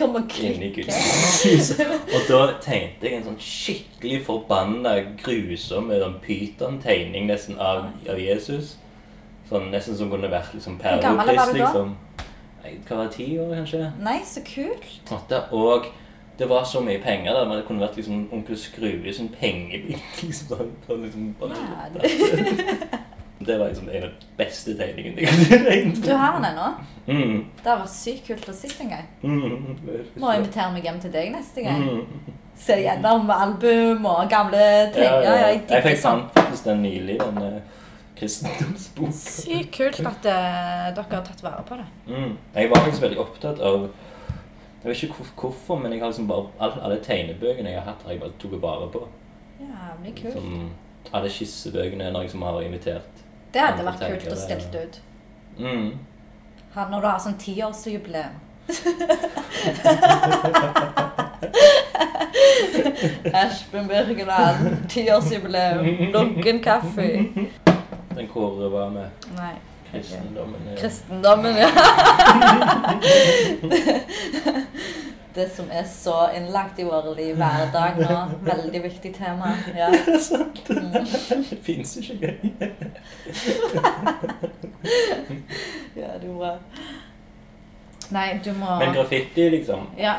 Speaker 2: Kom og
Speaker 1: Inni
Speaker 2: klikk.
Speaker 1: Guds hus. Og da tegnte jeg en sånn skikkelig forbanna grusom sånn pyton-tegning nesten av, av Jesus. Sånn Nesten som kunne vært liksom
Speaker 2: Hvor gammel var
Speaker 1: Perlekrist,
Speaker 2: du da?
Speaker 1: liksom. Nei, Hva var det, ti år, kanskje?
Speaker 2: Nei, så kult.
Speaker 1: Åtte. Og det var så mye penger der, men det kunne vært liksom onkel Skrue sin pengebit. liksom sånn, sånn liksom
Speaker 2: Ja,
Speaker 1: bare,
Speaker 2: du
Speaker 1: Det var liksom en av de beste tegningene jeg kunne
Speaker 2: du
Speaker 1: tegnet.
Speaker 2: har den ennå?
Speaker 1: Mm,
Speaker 2: Det var sykt kult å se en gang.
Speaker 1: mm,
Speaker 2: Må invitere meg hjem til deg neste gang.
Speaker 1: Mm.
Speaker 2: Se gjennom album og gamle ting. Ja, ja, jeg
Speaker 1: Jeg
Speaker 2: digger
Speaker 1: fikk
Speaker 2: sånn.
Speaker 1: sant faktisk den nylig, den eh, kristendomsboka.
Speaker 2: Sykt kult at eh, dere har tatt vare på det.
Speaker 1: Mm. Jeg var faktisk veldig opptatt av Jeg vet ikke hvor, hvorfor, men jeg har liksom bare alle, alle tegnebøkene jeg har hatt, har jeg bare tok vare på.
Speaker 2: Jævlig kult.
Speaker 1: Som alle skissebøkene når jeg liksom har invitert.
Speaker 2: Det hadde
Speaker 1: Jeg
Speaker 2: vært
Speaker 1: tenker
Speaker 2: kult å
Speaker 1: det,
Speaker 2: stilt ut.
Speaker 1: Mm.
Speaker 2: Ha- Når du har sånn tiårsjubileum. Espen Birkeland, tiårsjubileum, lunken kaffe.
Speaker 1: Den koret var med
Speaker 2: Nei.
Speaker 1: kristendommen. eh, ja.
Speaker 2: Kristendommen, ja. Det som er så innlagt i våre liv hver dag nå. Veldig viktig tema. Ja.
Speaker 1: Det fins ikke gøy.
Speaker 2: ja, det er bra. Nei, du må
Speaker 1: Men graffiti, liksom.
Speaker 2: Ja,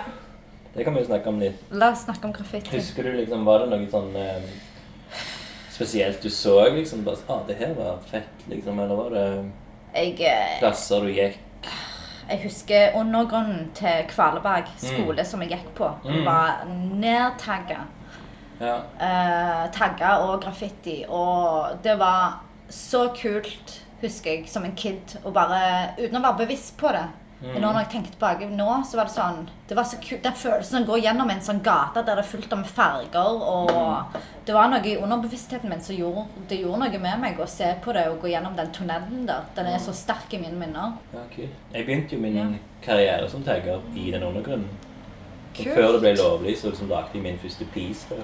Speaker 1: Det kan vi jo snakke om litt.
Speaker 2: la oss snakke om graffiti.
Speaker 1: Husker du liksom, var det noe sånn eh, spesielt du så, liksom? Bare, ah, det her var fett, liksom, eller var det
Speaker 2: Jeg eh,
Speaker 1: plasser du gikk?
Speaker 2: Jeg husker undergrunnen til Kvaleberg skole som jeg gikk på.
Speaker 1: Mm.
Speaker 2: var nedtagga.
Speaker 1: Ja.
Speaker 2: Uh, tagga og graffiti. Og det var så kult, husker jeg, som en kid. Og bare uten å være bevisst på det. Men nå når jeg tenker tilbake nå, så var det sånn Det var så kult, Den følelsen å gå gjennom en sånn gate der det er fullt av farger og Det var noe i underbevisstheten min som gjorde, det gjorde noe med meg å se på det og gå gjennom den tunnelen der. Den er så sterk i mine minner.
Speaker 1: ja, kult. Jeg begynte jo min
Speaker 2: Ja.
Speaker 1: karriere som tagger i den undergrunnen. Og
Speaker 2: Kult.
Speaker 1: før det ble lovlig, så liksom lagde jeg min første piece der.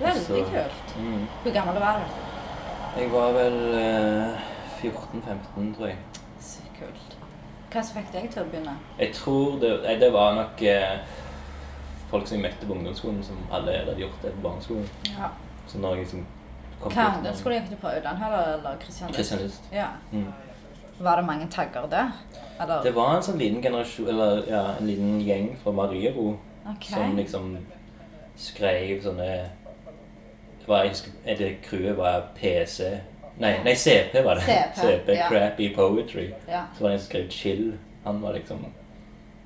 Speaker 2: Veldig
Speaker 1: Så-
Speaker 2: kult. Hvor gammel var du?
Speaker 1: Mm. Jeg var vel eh, 14-15, tror jeg.
Speaker 2: Sykt kult. Hva som fikk deg til å begynne?
Speaker 1: Jeg tror det, nei, det var nok eh, folk som jeg møtte på ungdomsskolen, som allerede hadde gjort det på barneskolen.
Speaker 2: Ja.
Speaker 1: Så når jeg liksom kom
Speaker 2: Hva
Speaker 1: til-
Speaker 2: ungdomsskole gikk du på? Ulandheller eller Kristiansand?
Speaker 1: Kristiansund.
Speaker 2: Ja.
Speaker 1: Mm.
Speaker 2: Var det mange tagger der? Eller?
Speaker 1: Det var en sånn liten generasjon, eller ja, en liten gjeng fra Mariero
Speaker 2: Ok.
Speaker 1: som liksom skrev sånne det var, jeg husker, eh, Det crewet var PC Nei, nei CP var det.
Speaker 2: CP, ja.
Speaker 1: Crappy Poetry.
Speaker 2: Ja.
Speaker 1: Så var det en som skrev Chill. Han var liksom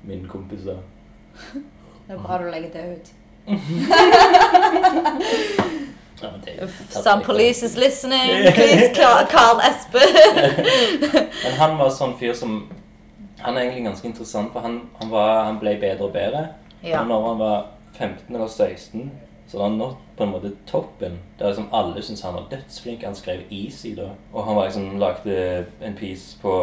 Speaker 1: min kompis da.
Speaker 2: Det er bra du legger det ut.
Speaker 1: Ja, men det-
Speaker 2: Some police is listening. Please call, call Espen.
Speaker 1: Men han var sånn fyr som Han er egentlig ganske interessant, for han, han, var, han ble bedre og bedre.
Speaker 2: Ja.
Speaker 1: Og når han var 15 eller 16, så hadde han nådd på en måte toppen. Der liksom alle syntes han var dødsflink. Han skrev Easy da. Og han var liksom, lagde en piece på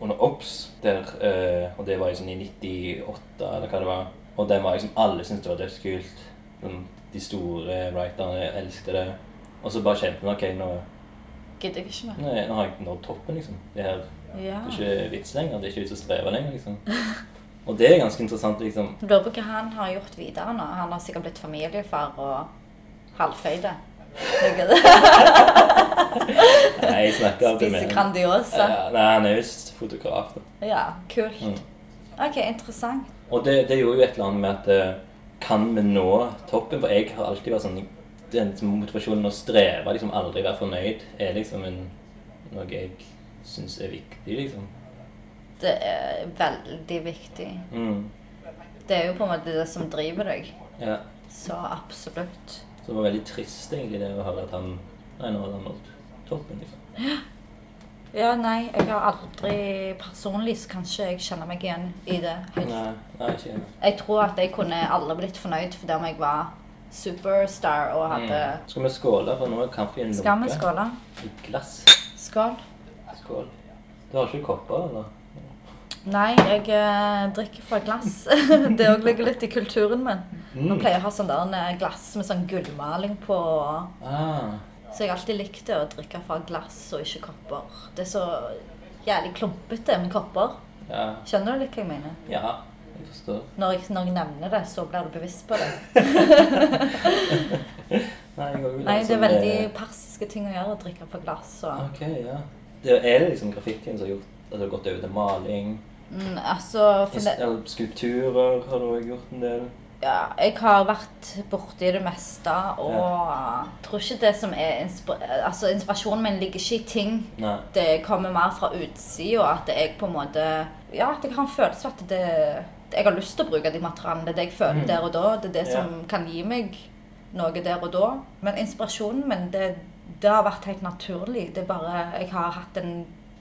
Speaker 1: under OBS, der, eh, og det var liksom i 98 eller hva det var. Og den var liksom, alle syntes det var dødskult. Sånn, De store writerne elsket det. Og så bare kjente han ok, nå,
Speaker 2: Gidder jeg ikke mer.
Speaker 1: nå er- nå har jeg nådd toppen, liksom. Det her
Speaker 2: Ja.
Speaker 1: det er ikke vits lenger. Det er ikke vits å streve lenger, liksom. Og det er ganske interessant, liksom.
Speaker 2: Jeg Lurer på hva han har gjort videre nå. Han har sikkert blitt familiefar og halvføyde.
Speaker 1: Nei, jeg snakker alltid med
Speaker 2: Spiser
Speaker 1: han.
Speaker 2: Grandiosa.
Speaker 1: Ja, Nei, han er visst fotograf, da.
Speaker 2: Ja, kult.
Speaker 1: Mm.
Speaker 2: OK, interessant.
Speaker 1: Og det, det gjorde jo et eller annet med at eh, Kan vi nå toppen? For jeg har alltid vært sånn Den motivasjonen å streve, liksom aldri være fornøyd, er liksom en, noe jeg syns er viktig, liksom.
Speaker 2: Det er veldig viktig.
Speaker 1: Mm.
Speaker 2: Det er jo på en måte det som driver deg.
Speaker 1: Ja.
Speaker 2: Så absolutt.
Speaker 1: Så det var veldig trist, egentlig, det å høre at han Nei, nå hadde han nådd toppen, liksom.
Speaker 2: Ja, nei, jeg har aldri personlig så kanskje jeg kjenner meg igjen i det. helt.
Speaker 1: Nei, nei ikke helt.
Speaker 2: Jeg tror at jeg kunne aldri blitt fornøyd fordi om jeg var superstar og hadde
Speaker 1: Mm. Skal vi skåle, for nå er kaffen lunka.
Speaker 2: Skal vi skåle?
Speaker 1: I glass.
Speaker 2: Skål.
Speaker 1: Skål. Du har ikke kopper, eller?
Speaker 2: Nei, jeg eh, drikker fra glass. det òg ligger litt i kulturen min. Man pleier å ha sånn der eh, glass med sånn gullmaling på.
Speaker 1: Ah.
Speaker 2: Så jeg har alltid likte å drikke fra glass og ikke kopper. Det er så jævlig klumpete med kopper.
Speaker 1: Ja.
Speaker 2: Skjønner du litt hva jeg mener?
Speaker 1: ja. Jeg forstår.
Speaker 2: Når jeg, når jeg nevner det, så blir du bevisst på det.
Speaker 1: Nei, jeg går jo
Speaker 2: Nei,
Speaker 1: liksom,
Speaker 2: det er veldig persiske ting å gjøre, å drikke fra glass og
Speaker 1: Ok, ja. Det er det liksom graffitien som har gjort at du har gått over til maling?
Speaker 2: mm, Altså, for det,
Speaker 1: Eller skulpturer har du også gjort en del?
Speaker 2: ja, jeg har vært borti det meste, og tror ikke det som er inspir Altså, inspirasjonen min ligger ikke i ting.
Speaker 1: Nei.
Speaker 2: Det kommer mer fra utsida, at jeg på en måte Ja, at jeg har en følelse av at det Jeg har lyst til å bruke de materialene. Det er det jeg
Speaker 1: Mm.
Speaker 2: føler der og da. Det er det
Speaker 1: Ja.
Speaker 2: som kan gi meg noe der og da. Men inspirasjonen min, det, det har vært helt naturlig. Det er bare Jeg har hatt en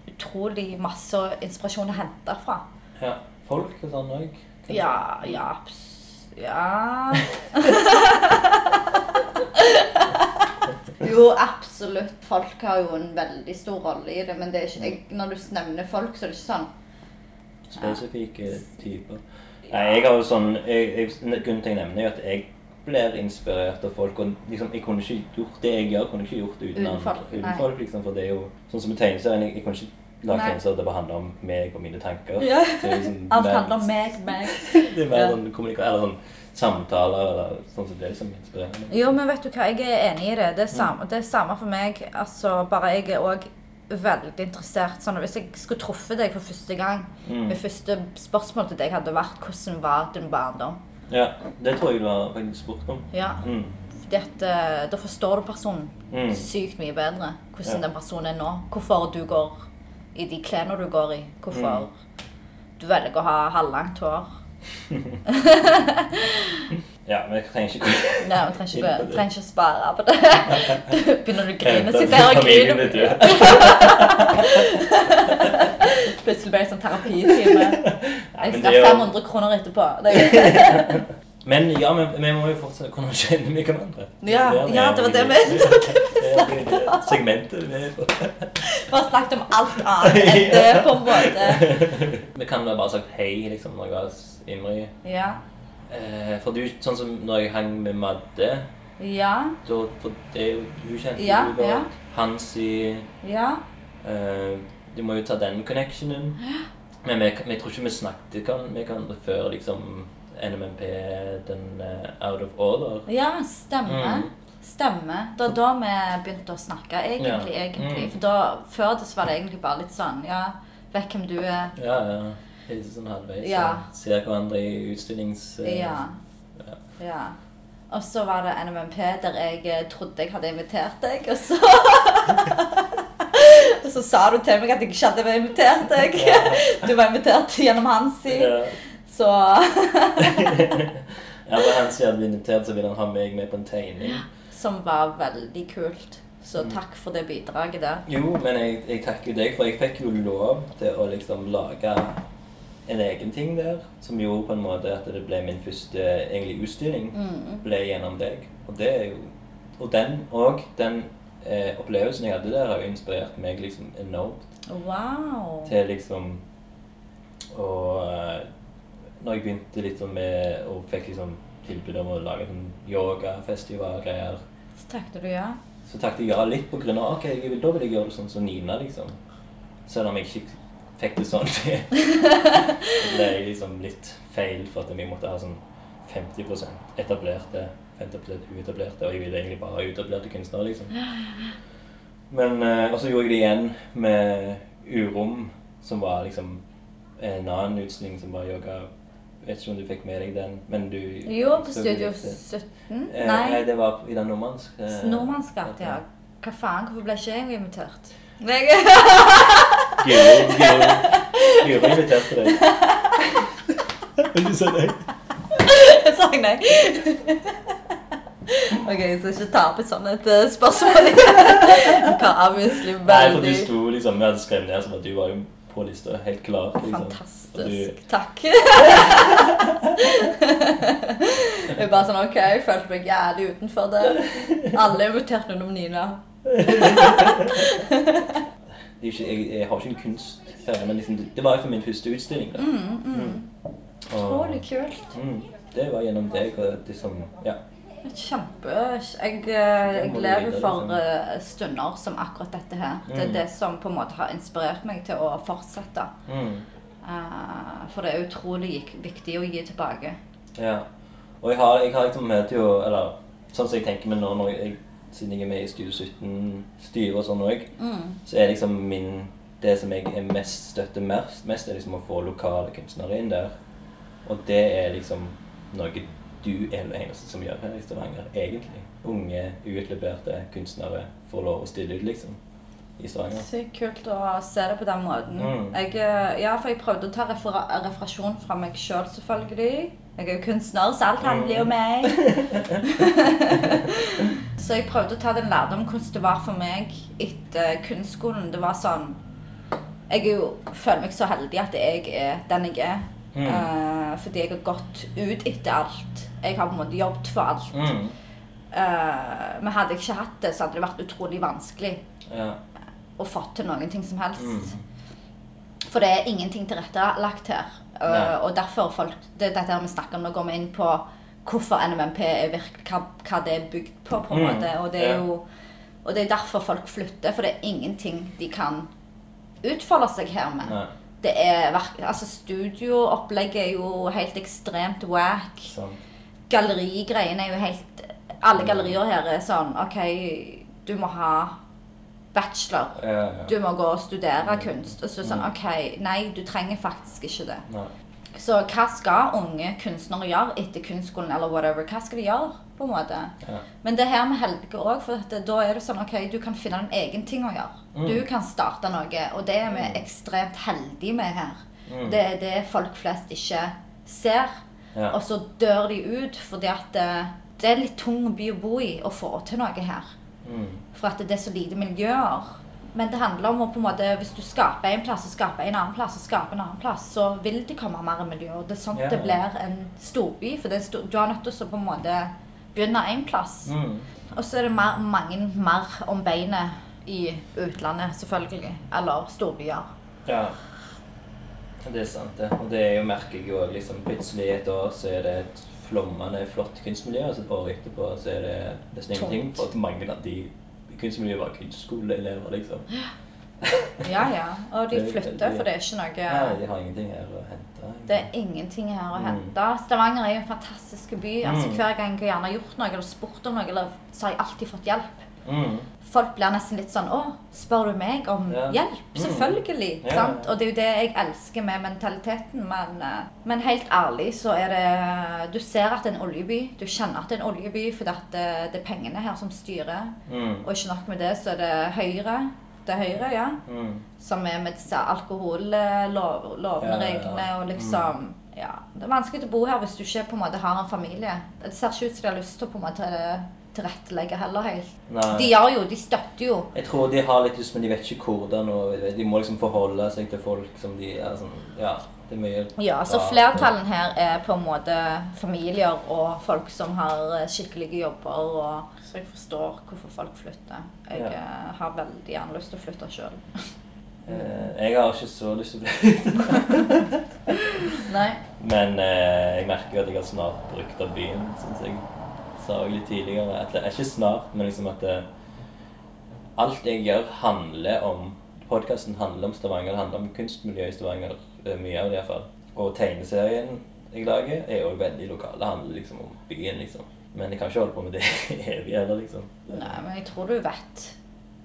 Speaker 2: utrolig masse inspirasjon å hente fra.
Speaker 1: Ja. Folk og sånn òg?
Speaker 2: Ja, ja, abs- ja. Jo, absolutt. Folk har jo en veldig stor rolle i det, men det er ikke, jeg, når du nevner folk, så er det ikke sånn.
Speaker 1: Spesifikke typer. Nei, jeg har jo sånn jeg, jeg, Grunnen til at jeg nevner, er jo at jeg blir inspirert av folk. Og liksom, jeg kunne ikke gjort det jeg gjør, kunne ikke gjort det uten,
Speaker 2: Uten
Speaker 1: andre-
Speaker 2: folk, nei.
Speaker 1: uten folk. liksom, For det er jo sånn som i tegneserien. Jeg, jeg kunne ikke lage
Speaker 2: Nei.
Speaker 1: tegneserier der det bare handler om meg og mine tanker.
Speaker 2: Ja.
Speaker 1: Det er liksom
Speaker 2: Alt
Speaker 1: mer-
Speaker 2: handler om meg, meg.
Speaker 1: Det er mer
Speaker 2: Ja.
Speaker 1: sånn kommunikasjon eller sånn samtaler eller sånn som det som inspirerer meg.
Speaker 2: Jo, men vet du hva, jeg er enig i det. Det er samme, det er samme for meg. Altså, bare jeg er òg veldig interessert. Sånn, hvis jeg skulle truffet deg for første gang,
Speaker 1: Mm.
Speaker 2: mitt første spørsmål til deg hadde vært hvordan var din barndom?
Speaker 1: Ja, det tror jeg du har faktisk spurt om.
Speaker 2: Ja,
Speaker 1: Mm.
Speaker 2: fordi at eh, Da forstår du personen
Speaker 1: Mm.
Speaker 2: sykt mye bedre.
Speaker 1: Ja.
Speaker 2: Hvordan den personen er nå. Hvorfor du går i de klærne du går i.
Speaker 1: Mm.
Speaker 2: Hvorfor du velger å ha halvlangt hår.
Speaker 1: Ja, men jeg trenger ikke gå
Speaker 2: Nei, vi trenger ikke,
Speaker 1: Innenfor det.
Speaker 2: trenger ikke å spare på det. Begynner du å grine, sitter her og
Speaker 1: Familien
Speaker 2: griner.
Speaker 1: er død.
Speaker 2: Plutselig ble jeg sånn terapitime.
Speaker 1: men
Speaker 2: Jeg
Speaker 1: det
Speaker 2: skal
Speaker 1: er
Speaker 2: ha
Speaker 1: jo-
Speaker 2: 500 kroner etterpå. Det-
Speaker 1: Men ja, men vi må jo fortsatt kunne kjenne mye hverandre.
Speaker 2: Ja,
Speaker 1: Det er
Speaker 2: ja, det var det vi-
Speaker 1: egentlig-
Speaker 2: det var
Speaker 1: Det er det segmentet vi er på.
Speaker 2: Vi har snakket om alt annet enn det, på en måte.
Speaker 1: Vi kan da bare sagt hei, liksom, når jeg var s- Imri.
Speaker 2: Ja.
Speaker 1: Eh, for du, sånn som når jeg hang med Madde,
Speaker 2: Ja.
Speaker 1: da, for det er jo du kjente
Speaker 2: Ja,
Speaker 1: du godt.
Speaker 2: ja.
Speaker 1: Hansi
Speaker 2: Ja.
Speaker 1: Eh, Du må jo ta den connectionen. Men vi, vi tror ikke vi snakket kan, vi kan før liksom NMMP, den eh, Out of Order.
Speaker 2: Ja, stemme.
Speaker 1: Mm.
Speaker 2: Stemme. Det var da vi begynte å snakke, egentlig.
Speaker 1: Ja.
Speaker 2: egentlig.
Speaker 1: Mm.
Speaker 2: For da, Før det så var det egentlig bare litt sånn Ja, vet hvem du er.
Speaker 1: Ja, ja. Hilse sånn halvveis.
Speaker 2: Ja.
Speaker 1: og Ser hverandre i utstillings... eh,
Speaker 2: Ja. ja. Og så var det NMMP, der jeg eh, trodde jeg hadde invitert deg, og så Og så sa du til meg at jeg ikke hadde vært invitert deg. Du var invitert gjennom Hansi,
Speaker 1: Ja.
Speaker 2: så
Speaker 1: ja, for han sier at vi er invitert, så vil han ha meg med på en tegning.
Speaker 2: Som var veldig kult. Så
Speaker 1: Mm.
Speaker 2: takk for det bidraget der.
Speaker 1: Jo, men jeg, jeg takker jo deg, for jeg fikk jo lov til å liksom lage en egen ting der, som gjorde på en måte at det ble min første egentlig utstilling. Ble gjennom deg. Og det er jo Og den og den eh, opplevelsen jeg hadde der, har jo inspirert meg liksom enormt
Speaker 2: Wow.
Speaker 1: til liksom å eh, Når jeg begynte liksom med og fikk liksom tilbud om å lage sånn yogafestival-greier,
Speaker 2: Så takket du ja.
Speaker 1: så takket jeg ja litt på grunn av ok, jeg vil, da vil jeg gjøre det sånn som Nina, liksom. Selv om jeg ikke fikk det sånn. Det ble jeg liksom litt feil for at jeg måtte ha sånn 50 etablerte, 50 uetablerte, og jeg ville egentlig bare ha uetablerte kunstnere, liksom. Men, eh, og så gjorde jeg det igjen med Urom, som var liksom en annen utstilling som var yoga. Vet ikke om du fikk med deg den, men du
Speaker 2: Jo, på
Speaker 1: så
Speaker 2: Studio
Speaker 1: du-
Speaker 2: 17?
Speaker 1: Eh,
Speaker 2: Nei.
Speaker 1: det var i den nordmannske. eh,
Speaker 2: Nordmannsgata, ja. Hva faen, hvorfor ble ikke jeg invitert? Nei,
Speaker 1: Guro, Guro. Guro inviterte deg. Men du sa nei.
Speaker 2: jeg sa nei. Ok, så ikke ta opp et sånt et eh, spørsmål. Jeg kan avviselig
Speaker 1: Nei, for du
Speaker 2: veldig.
Speaker 1: sto liksom, vi hadde skrevet ned som at du var jo på lista, helt klar. Liksom. Og
Speaker 2: Fantastisk.
Speaker 1: du,
Speaker 2: Takk. Jeg bare sånn, ok, jeg følte meg jævlig utenfor det. Alle inviterte utenom Nina.
Speaker 1: det er jo ikke, jeg, jeg har ikke en kunst her, men liksom, det, det var jo for min første utstilling. Da. Mm. Og-
Speaker 2: Mm, Utrolig kult.
Speaker 1: Mm, det var gjennom deg og liksom, ja.
Speaker 2: Kjempe. Jeg, eh, jeg
Speaker 1: må du
Speaker 2: lever
Speaker 1: vite,
Speaker 2: for
Speaker 1: liksom.
Speaker 2: eh, stunder som akkurat dette her. Det er
Speaker 1: Mm.
Speaker 2: det som på en måte har inspirert meg til å fortsette.
Speaker 1: Mm,
Speaker 2: Eh, for det er utrolig gik- viktig å gi tilbake.
Speaker 1: ja. Og jeg har, jeg har liksom med til å, eller sånn som jeg tenker meg nå, når jeg, siden jeg er med i Studio 17 styre og sånn også, så er liksom min, det som jeg er mest støtter mest, mest er liksom å få lokale kunstnere inn der. Og det er liksom noe du er den eneste som gjør her i Stavanger, egentlig. Unge, uutleverte kunstnere får lov å stille ut, liksom, i Stavanger.
Speaker 2: Sykt kult å se det på den måten.
Speaker 1: Mm.
Speaker 2: Jeg, eh, ja, for jeg prøvde å ta refera referasjon fra meg sjøl, selv, selvfølgelig. Jeg er jo kunstner, så alt handler jo om meg.
Speaker 1: Mm.
Speaker 2: så jeg prøvde å ta den lærdom hvordan det var for meg etter kunstskolen. Det var sånn Jeg er jo, føler meg så heldig at jeg er den jeg er.
Speaker 1: Mm.
Speaker 2: Eh, fordi jeg har gått ut etter alt. Jeg har på en måte jobbet for alt.
Speaker 1: Mm,
Speaker 2: Eh, men hadde jeg ikke hatt det, så hadde det vært utrolig vanskelig
Speaker 1: ja.
Speaker 2: og fått til noen ting som helst.
Speaker 1: Mm.
Speaker 2: For det er ingenting tilrettelagt her. Uh,
Speaker 1: Nei.
Speaker 2: og derfor folk, det, Dette her vi snakker om, nå går vi inn på hvorfor NMMP er virk, hva, hva det er bygd på. på en
Speaker 1: Mm,
Speaker 2: måte, Og det er
Speaker 1: ja.
Speaker 2: jo og det er derfor folk flytter, for det er ingenting de kan utfolde seg her med.
Speaker 1: Nei,
Speaker 2: Det er verk- altså Studioopplegget er jo helt ekstremt whack
Speaker 1: sant.
Speaker 2: gallerigreiene er jo helt Alle
Speaker 1: Mm.
Speaker 2: gallerier her er sånn OK, du må ha bachelor.
Speaker 1: Ja, ja.
Speaker 2: Du må gå og studere kunst. Og så er
Speaker 1: Mm.
Speaker 2: det sånn OK, nei, du trenger faktisk ikke det.
Speaker 1: Nei.
Speaker 2: Så hva skal unge kunstnere gjøre etter kunstskolen eller whatever? Hva skal de gjøre? på en måte?
Speaker 1: Ja.
Speaker 2: Men det er her med Helge òg, for at da er det sånn OK, du kan finne din egen ting å gjøre. Du
Speaker 1: Mm.
Speaker 2: kan starte noe, og det er vi ekstremt heldige med her. Det er det folk flest ikke ser.
Speaker 1: Mm. Ja.
Speaker 2: Og så dør de ut fordi at det, det er en litt tung by å bo i å få til noe her.
Speaker 1: Mm,
Speaker 2: For at det er så lite miljøer. Men det handler om å på en måte, hvis du skaper en plass, og skaper en annen plass, og skaper en annen plass, så vil det komme mer miljø. Og det er sånn
Speaker 1: Ja,
Speaker 2: det
Speaker 1: ja.
Speaker 2: blir en storby. For det er stor, du er nødt til å på en måte begynne en plass.
Speaker 1: mm,
Speaker 2: Og så er det mer, mange mer om beinet i utlandet, selvfølgelig. Eller storbyer.
Speaker 1: ja. Det er sant, det. Og det er jo, merker jeg jo også, liksom, plutselig et år så er det et flommende flott kunstmiljø, og så et år etterpå så er det nesten ingenting
Speaker 2: Tomt.
Speaker 1: for at mange av de i kunstmiljøet var kunstskoleelever, liksom.
Speaker 2: Ja, ja. Og de
Speaker 1: Det er
Speaker 2: flytter,
Speaker 1: veldig-
Speaker 2: for det er ikke noe
Speaker 1: Nei, de har ingenting her å hente.
Speaker 2: Det er ingenting her å hente. Stavanger er jo en fantastisk by. Altså,
Speaker 1: Mm.
Speaker 2: hver gang jeg gjerne har gjort noe eller spurt om noe, eller, så har jeg alltid fått hjelp.
Speaker 1: Mm,
Speaker 2: Folk blir nesten litt sånn 'Å, spør du meg om
Speaker 1: Ja.
Speaker 2: hjelp?'
Speaker 1: Mm.
Speaker 2: Selvfølgelig.
Speaker 1: Ja, ja,
Speaker 2: sant?
Speaker 1: ja.
Speaker 2: Og det er jo det jeg elsker med mentaliteten. Men, eh, men helt ærlig så er det Du ser at det er en oljeby. Du kjenner at det er en oljeby fordi at det, det er pengene her som styrer.
Speaker 1: mm,
Speaker 2: Og ikke nok med det, så er det Høyre. Det er Høyre, ja
Speaker 1: mm.
Speaker 2: som er med disse alkohollovene,
Speaker 1: Ja, Mm. ja, ja.
Speaker 2: reglene og liksom ja. Det er vanskelig å bo her hvis du ikke på en måte har en familie. Det ser ikke ut som de har lyst til å på en måte tilrettelegge heller helt.
Speaker 1: Nei.
Speaker 2: De gjør jo, de støtter jo.
Speaker 1: Jeg tror de har litt lyst, men de vet ikke hvordan. og De må liksom forholde seg til folk som de er sånn Ja, det er mye
Speaker 2: Ja, så
Speaker 1: rart.
Speaker 2: flertallen her er på en måte familier og folk som har eh, skikkelige jobber. Og, så jeg forstår hvorfor folk flytter. Jeg
Speaker 1: Ja.
Speaker 2: eh, har veldig gjerne lyst til å flytte sjøl.
Speaker 1: Eh, Jeg har ikke så lyst til å bli
Speaker 2: Nei.
Speaker 1: Men eh, jeg merker jo at jeg har snart brukt av byen, syns jeg sa jo litt tidligere. At det er ikke snart, men liksom at det, alt jeg gjør, handler om Podkasten handler om Stavanger, det handler om kunstmiljøet i Stavanger. eh, Mye av det, iallfall. Og tegneserien jeg lager, er jo veldig lokal. Det handler liksom om byen, liksom. Men jeg kan ikke holde på med det evig heller, liksom.
Speaker 2: Nei, men jeg tror du vet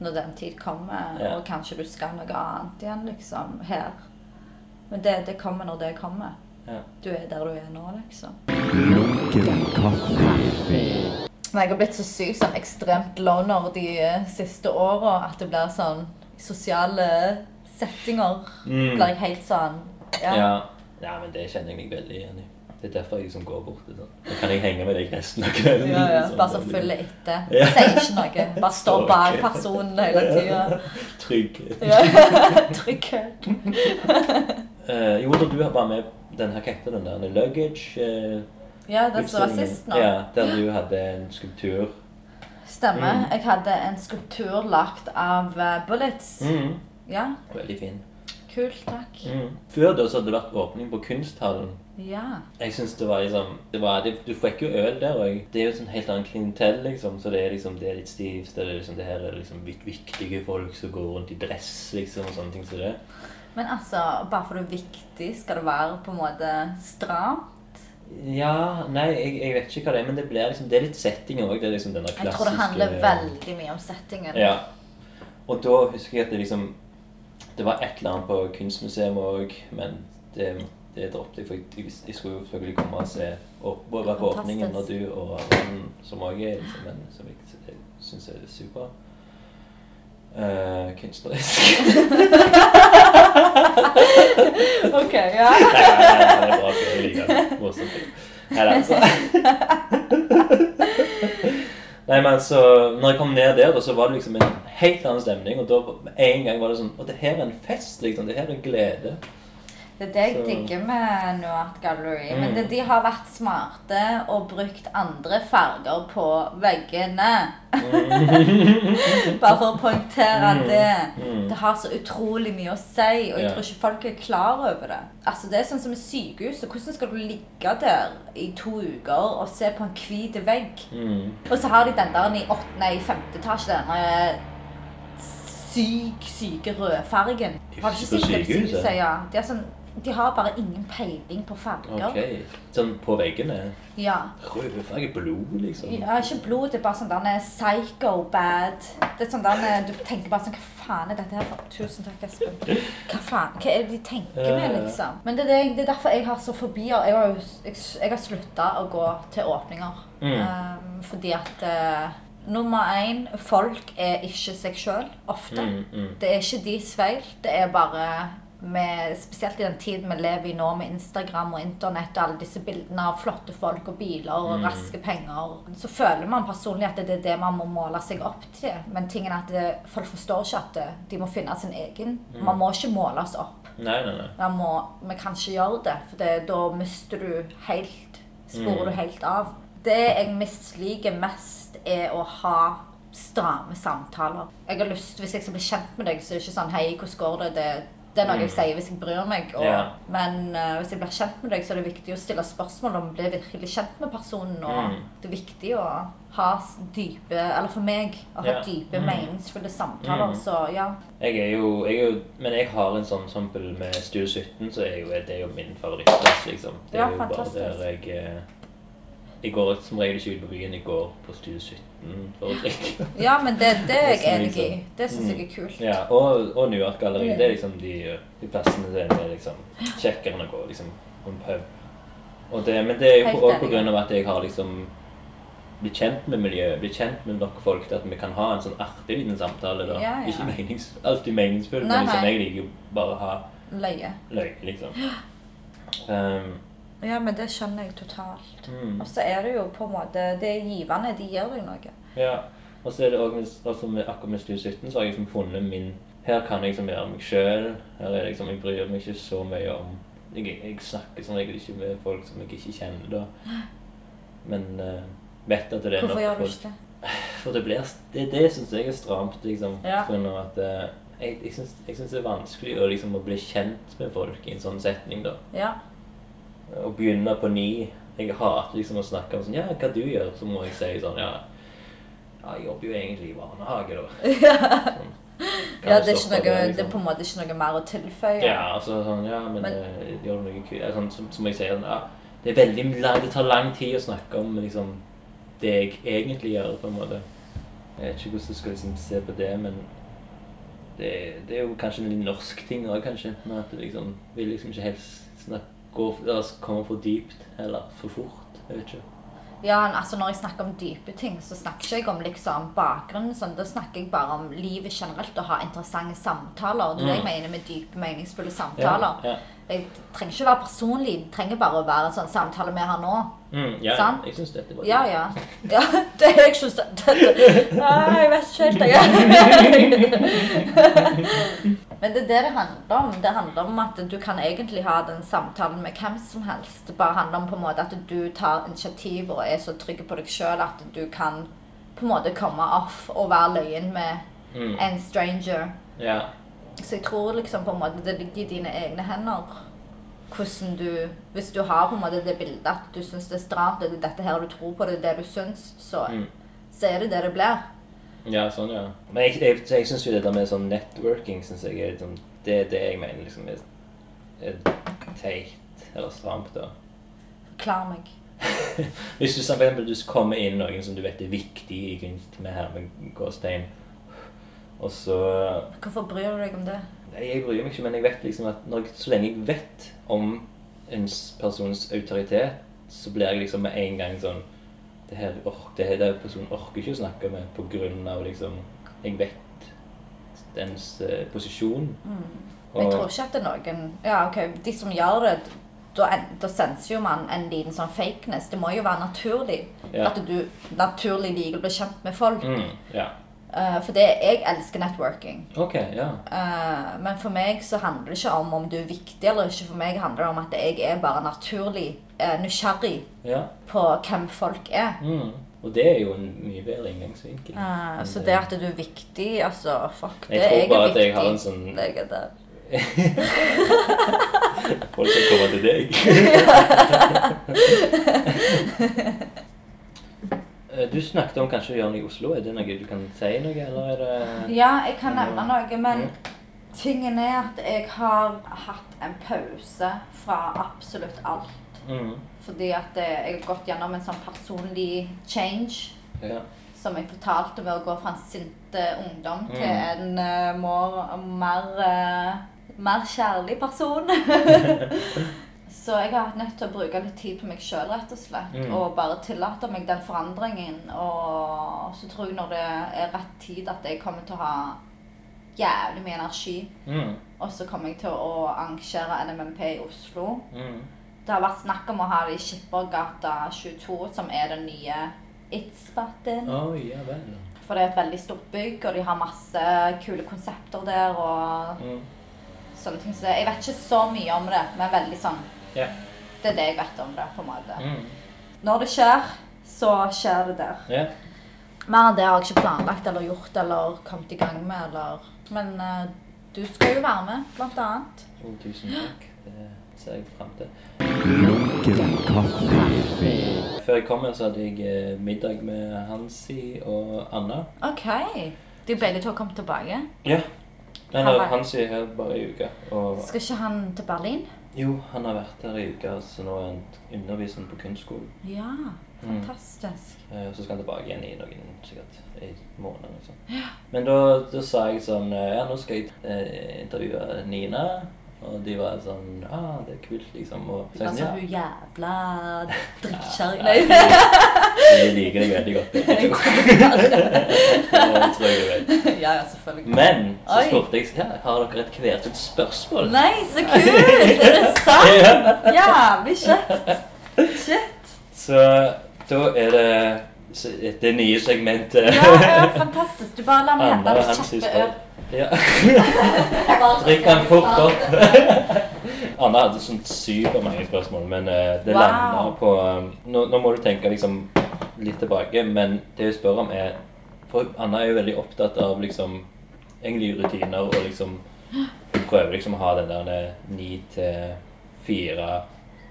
Speaker 2: når den tid kommer,
Speaker 1: Ja.
Speaker 2: og kanskje du skal noe annet igjen, liksom, her. Men det, det kommer når det kommer.
Speaker 1: Ja.
Speaker 2: Du er der du er nå, liksom.
Speaker 3: Lunken kaffe.
Speaker 2: Men jeg har blitt så sykt sånn ekstremt loner de eh, siste åra at det blir sånn i Sosiale settinger blir jeg helt sånn
Speaker 1: Ja.
Speaker 2: ja.
Speaker 1: Mm. ja. men det kjenner jeg meg veldig igjen i. Det er derfor jeg liksom går bort til sånn. Da kan jeg henge med deg resten av kvelden.
Speaker 2: Ja, ja.
Speaker 1: liksom.
Speaker 2: Bare så følge etter.
Speaker 1: Ja.
Speaker 2: Sier ikke noe. Bare står
Speaker 1: Ok.
Speaker 2: bak personen hele tida.
Speaker 1: Trygghet.
Speaker 2: Trygghet.
Speaker 1: Eh, jo, da du var med den her kakta, den der den luggage eh,
Speaker 2: Ja, den som var
Speaker 1: utstillingen.
Speaker 2: sist nå.
Speaker 1: Ja, der du hadde en skulptur.
Speaker 2: Stemmer.
Speaker 1: Mm.
Speaker 2: Jeg hadde en skulptur lagt av eh, bullets.
Speaker 1: Mm.
Speaker 2: Ja,
Speaker 1: Veldig fin.
Speaker 2: kult. Takk.
Speaker 1: Mm. Før da så hadde det vært åpning på kunsthallen.
Speaker 2: Ja.
Speaker 1: Jeg synes det var liksom det var, det, Du fikk jo øl der òg. Det er jo et sånn helt annet klientell, liksom. Så det er liksom det er litt stivt. og Det, er liksom, det her er liksom vik- viktige folk som går rundt i dress, liksom, og sånne ting som det.
Speaker 2: Men altså, bare for det er viktig, skal det være på en måte stramt?
Speaker 1: Ja, nei, jeg, jeg vet ikke hva det er, men det blir liksom Det er litt setting òg. Det er liksom denne
Speaker 2: Jeg
Speaker 1: klassiske
Speaker 2: tror det handler veldig mye om settingen.
Speaker 1: Ja. Og da husker jeg at det liksom Det var et eller annet på kunstmuseet òg, men det, det droppet jeg, for jeg, jeg, vis- jeg skulle jo selvfølgelig komme og se og og være på
Speaker 2: Fantastisk.
Speaker 1: åpningen når du og Ron, som òg er liksom, en som jeg, jeg syns er super eh, kunstnerisk.
Speaker 2: Ok, ja.
Speaker 1: Nei, nei, nei, nei, det er bra, for jeg liker det. Morsomt. Nei, nei, altså. Nei, men altså, når jeg kom ned der, da, så var det liksom en helt annen stemning. Og da med en gang var det sånn Og det her er en fest, liksom. Det her er glede.
Speaker 2: Det er det jeg
Speaker 1: Så-
Speaker 2: digger med Noart Gallery. Men
Speaker 1: Mm.
Speaker 2: det, de har vært smarte og brukt andre farger på veggene.
Speaker 1: Mm.
Speaker 2: Bare for å poengtere det. Det har så utrolig mye å si, og jeg
Speaker 1: Ja.
Speaker 2: tror ikke folk er klar over det. Altså, Det er sånn som i sykehus. og Hvordan skal du ligge der i to uker og se på en hvit vegg?
Speaker 1: Mm.
Speaker 2: Og så har de den der i åtte- nei, i femte etasje, den der syk, syke rødfargen. Har
Speaker 1: På
Speaker 2: du ikke sett det på
Speaker 1: sykehuset?
Speaker 2: sykehuset? Ja. De, er sånn, de har bare ingen peiling på farger.
Speaker 1: Ok. Sånn på veggene.
Speaker 2: Ja.
Speaker 1: Rødfarge blod, liksom.
Speaker 2: ja. Ikke blod, det er bare sånn der psycho-bad. Det er sånn der Du tenker bare sånn Hva faen er dette her for Tusen takk, Espen. Hva faen? Hva er det de tenker
Speaker 1: Ja, ja,
Speaker 2: med,
Speaker 1: ja.
Speaker 2: liksom? Men det er, det, jeg- det er derfor jeg har så fobier. Jeg har, jo s- jeg, s- jeg har slutta å gå til åpninger.
Speaker 1: Mm.
Speaker 2: Um, fordi at eh, nummer én folk er ikke seg sjøl ofte.
Speaker 1: Mm, mm.
Speaker 2: Det er ikke deres feil. Det er bare med, Spesielt i den tiden vi lever i nå, med Instagram og internett og alle disse bildene av flotte folk og biler og
Speaker 1: Mm.
Speaker 2: raske penger, så føler man personlig at det er det man må måle seg opp til. Men tingen er at det, folk forstår ikke at det, de må finne sin egen.
Speaker 1: Mm.
Speaker 2: Man må ikke måles opp
Speaker 1: Nei, nei, nei.
Speaker 2: man må, vi kan ikke gjøre det, for det, da mister du helt,
Speaker 1: Mm.
Speaker 2: sporer du helt av. Det jeg misliker mest er å ha stramme samtaler. Jeg har lyst, Hvis jeg skal bli kjent med deg, så er det ikke sånn hei, hvordan går det? det det er noe jeg sier hvis jeg bryr meg. Og,
Speaker 1: Mm. Ja.
Speaker 2: Men eh, hvis jeg blir kjent med deg, så er det viktig å stille spørsmål om å bli virkelig kjent med personen. Og
Speaker 1: Mm.
Speaker 2: det er viktig å ha s- dype, eller for meg, å ha
Speaker 1: Ja.
Speaker 2: dype, meningsfulle samtaler.
Speaker 1: Mm.
Speaker 2: Så ja.
Speaker 1: Jeg er jo, jeg er jo Men jeg har en sånn eksempel med Studio 17, så er jo, det er jo min favorittplass, liksom. Det er
Speaker 2: Ja,
Speaker 1: jo
Speaker 2: fantastisk.
Speaker 1: bare der jeg eh, Jeg går som regel ikke ut på byen. Jeg går på Studio 17 for å drikke.
Speaker 2: ja, men det, det er jeg
Speaker 1: Det er
Speaker 2: enig i.
Speaker 1: liksom-
Speaker 2: Det syns jeg er kult.
Speaker 1: Ja, og, og New York Galleri. Det er liksom de, de plassene der det er liksom kjekkere enn å gå liksom, på en pub. Og det, men det er jo
Speaker 2: Helt
Speaker 1: også
Speaker 2: enig.
Speaker 1: på grunn av at jeg har liksom blitt kjent med miljøet, blitt kjent med nok folk til at vi kan ha en sånn artig liten samtale. da.
Speaker 2: Ja, ja.
Speaker 1: Ikke menings, alltid meningsfull,
Speaker 2: Nei,
Speaker 1: men liksom,
Speaker 2: nei.
Speaker 1: jeg liker jo bare å ha
Speaker 2: Løye.
Speaker 1: løye, liksom. Ehm,
Speaker 2: Ja, men det skjønner jeg totalt.
Speaker 1: Mm.
Speaker 2: Og så er det jo på en måte Det er givende. De gir deg noe.
Speaker 1: Ja. Og så er det også med- altså med, akkurat med Stue 17 så har jeg liksom funnet min Her kan jeg liksom være meg sjøl. Her er det liksom, jeg bryr meg ikke så mye om Jeg, jeg snakker som regel ikke med folk som jeg ikke kjenner, da. Men eh, vet at det er
Speaker 2: Hvorfor
Speaker 1: nok
Speaker 2: gjør du
Speaker 1: folk-
Speaker 2: ikke det?
Speaker 1: For det blir Det, det syns jeg er stramt, liksom.
Speaker 2: Ja.
Speaker 1: På grunn av at eh, jeg, jeg syns jeg syns det er vanskelig å liksom å bli kjent med folk i en sånn setning, da.
Speaker 2: Ja.
Speaker 1: Å begynne på ny. Jeg hater liksom å snakke om sånn Ja, hva du gjør? Så må jeg si sånn Ja, ja jeg jobber jo egentlig i barnehage, da. Sånn. Kan
Speaker 2: ja
Speaker 1: du
Speaker 2: det, er ikke
Speaker 1: stoppe
Speaker 2: noe,
Speaker 1: det,
Speaker 2: det er
Speaker 1: liksom?
Speaker 2: på en måte ikke noe mer å tilføye.
Speaker 1: Ja, altså sånn Ja, men,
Speaker 2: Men-
Speaker 1: eh, gjør du noe kult? Ja, Sånn, som, som jeg sier sånn, ja, det, er veldig, lang- det tar lang tid å snakke om liksom, det jeg egentlig gjør, på en måte. Jeg vet ikke hvordan du skal liksom, se på det, men det, det er jo kanskje en litt norsk ting òg, kanskje. Med at du liksom, vil liksom ikke helst snakke, gå, altså, komme for dypt eller for fort. Jeg vet ikke.
Speaker 2: Ja, men altså Når jeg snakker om dype ting, så snakker ikke jeg om liksom bakgrunnen. Sånn. Da snakker jeg bare om livet generelt, å ha interessante samtaler. Det er det jeg
Speaker 1: Mm.
Speaker 2: mener med dype, meningsfulle
Speaker 1: Ja,
Speaker 2: samtaler.
Speaker 1: ja.
Speaker 2: Jeg trenger ikke være personlig, det trenger bare å være en sånn samtale vi har nå.
Speaker 1: Mm, ja,
Speaker 2: Sant?
Speaker 1: jeg syns dette var
Speaker 2: Ja, ja. ja det er jeg synes det, det, det. Nei, jeg vet ikke helt, jeg. Men det er det det handler om. Det handler om at du kan egentlig ha den samtalen med hvem som helst. Det bare handler om på en måte at du tar initiativ og er så trygg på deg sjøl at du kan på en måte komme off og være løyen med
Speaker 1: Mm,
Speaker 2: en stranger.
Speaker 1: ja.
Speaker 2: Så jeg tror liksom på en måte det ligger i dine egne hender. Hvordan du, Hvis du har på en måte det bildet at du syns det er stramt, det er dette her du tror på, det er det du syns, så,
Speaker 1: Mm.
Speaker 2: så er det det det blir.
Speaker 1: Ja, sånn, ja. Men jeg, jeg, jeg syns jo det der med sånn networking synes jeg er liksom, Det er det jeg mener liksom er, er teit eller stramt. da.
Speaker 2: Klar meg.
Speaker 1: Hvis du for eksempel, du kommer inn noen som du vet er viktig i kunst med hermegåstein, og så
Speaker 2: Hvorfor bryr du deg om det?
Speaker 1: Nei, Jeg bryr meg ikke, men jeg vet liksom at når, så lenge jeg vet om en s- persons autoritet, så blir jeg liksom med en gang sånn det her, ork, det her den personen orker ikke å snakke med på grunn av liksom Jeg vet dens eh, posisjon.
Speaker 2: Men Mm. jeg tror ikke at det er noen Ja, OK, de som gjør det, da, en- da senser jo man en liten sånn fakeness. Det må jo være naturlig.
Speaker 1: Ja.
Speaker 2: At du naturlig liker å bli kjent med folk.
Speaker 1: mm, Ja.
Speaker 2: Eh, for det, jeg elsker networking.
Speaker 1: OK. Ja.
Speaker 2: Eh, men for meg så handler det ikke om om du er viktig eller ikke. For meg handler det om at jeg er bare naturlig eh, nysgjerrig
Speaker 1: ja.
Speaker 2: på hvem folk er.
Speaker 1: Mm. Og det er jo en mye bedre inngangsvinkel.
Speaker 2: Eh, så det at du er viktig, altså fuck det.
Speaker 1: Mm. Jeg tror
Speaker 2: er
Speaker 1: bare at
Speaker 2: viktig.
Speaker 1: jeg har en sånn-
Speaker 2: Jeg er der.
Speaker 1: Folk skal komme til deg. Eh, Du snakket om kanskje å gjøre noe i Oslo. Er det noe du kan si noe, eller er det
Speaker 2: Ja, jeg kan nevne noe, men tingen er at jeg har hatt en pause fra absolutt alt.
Speaker 1: mm.
Speaker 2: Fordi at eh, jeg har gått gjennom en sånn personlig change.
Speaker 1: ja.
Speaker 2: som jeg fortalte med å gå fra en sint eh, ungdom til
Speaker 1: Mm.
Speaker 2: en eh, more, mer, eh, mer kjærlig person. Så jeg har vært nødt til å bruke litt tid på meg sjøl rett og slett.
Speaker 1: Mm.
Speaker 2: Og bare tillate meg den forandringen. Og så tror jeg når det er rett tid, at jeg kommer til å ha jævlig mye energi.
Speaker 1: Mm.
Speaker 2: Og så kommer jeg til å arrangere NMMP i Oslo.
Speaker 1: Mm.
Speaker 2: Det har vært snakk om å ha det i Skippergata 22, som er den nye It's-batten.
Speaker 1: Å, ja vel.
Speaker 2: For det er et veldig stort bygg, og de har masse kule konsepter der og
Speaker 1: Mm.
Speaker 2: sånne ting. Så jeg vet ikke så mye om det, men veldig sånn
Speaker 1: Ja.
Speaker 2: Det er det jeg vet om det, på en måte.
Speaker 1: Mm.
Speaker 2: Når det skjer, så skjer det der.
Speaker 1: ja.
Speaker 2: Mer enn det har jeg ikke planlagt eller gjort eller kommet i gang med eller Men eh, du skal jo være med, blant annet.
Speaker 1: Jo, tusen takk. Det ser jeg fram til.
Speaker 3: Lunken kaffe.
Speaker 1: Før jeg kom her, så hadde jeg eh, middag med Hansi og Anna.
Speaker 2: OK. De begge to kom tilbake.
Speaker 1: Ja. Eller
Speaker 2: Han er-
Speaker 1: Hansi er her bare ei uke. Og
Speaker 2: Skal ikke han til Berlin?
Speaker 1: jo, han har vært her ei uke, så nå er han undervisende på kunstskolen.
Speaker 2: Ja. Fantastisk.
Speaker 1: Eh, Og så skal han tilbake igjen i noen sikkert i måneder. Liksom. Men da, da sa jeg sånn eh, Ja, nå skal jeg eh, intervjue Nina. Og de var sånn ah, det er kult, liksom. Og så,
Speaker 2: Altså,
Speaker 1: jeg
Speaker 2: hun
Speaker 1: sånn,
Speaker 2: jævla drittkjerring.
Speaker 1: ja,
Speaker 2: Nei.
Speaker 1: jeg liker deg veldig godt. Jeg tror jeg vet.
Speaker 2: ja, ja, selvfølgelig.
Speaker 1: Men så
Speaker 2: Oi.
Speaker 1: spurte jeg ja, har dere et hvert sitt spørsmål.
Speaker 2: Nei, så kult! Er det sant?
Speaker 1: Ja.
Speaker 2: Jævlig kjekt. Shit.
Speaker 1: Så da er det så- det nye segmentet.
Speaker 2: Ja, ja, fantastisk. Du bare la meg
Speaker 1: Anna
Speaker 2: hente
Speaker 1: og
Speaker 2: litt
Speaker 1: hans
Speaker 2: kjappe
Speaker 1: historie.
Speaker 2: øl.
Speaker 1: Ja.
Speaker 2: Bare-
Speaker 1: Drikk den fort opp. Anna hadde sånn supermange spørsmål, men eh, det
Speaker 2: Wow.
Speaker 1: landa på um, nå, nå må du tenke liksom litt tilbake, men det hun spør om, er For Anna er jo veldig opptatt av liksom egentlig rutiner og liksom Hun prøver liksom å ha den der eh, ni til fire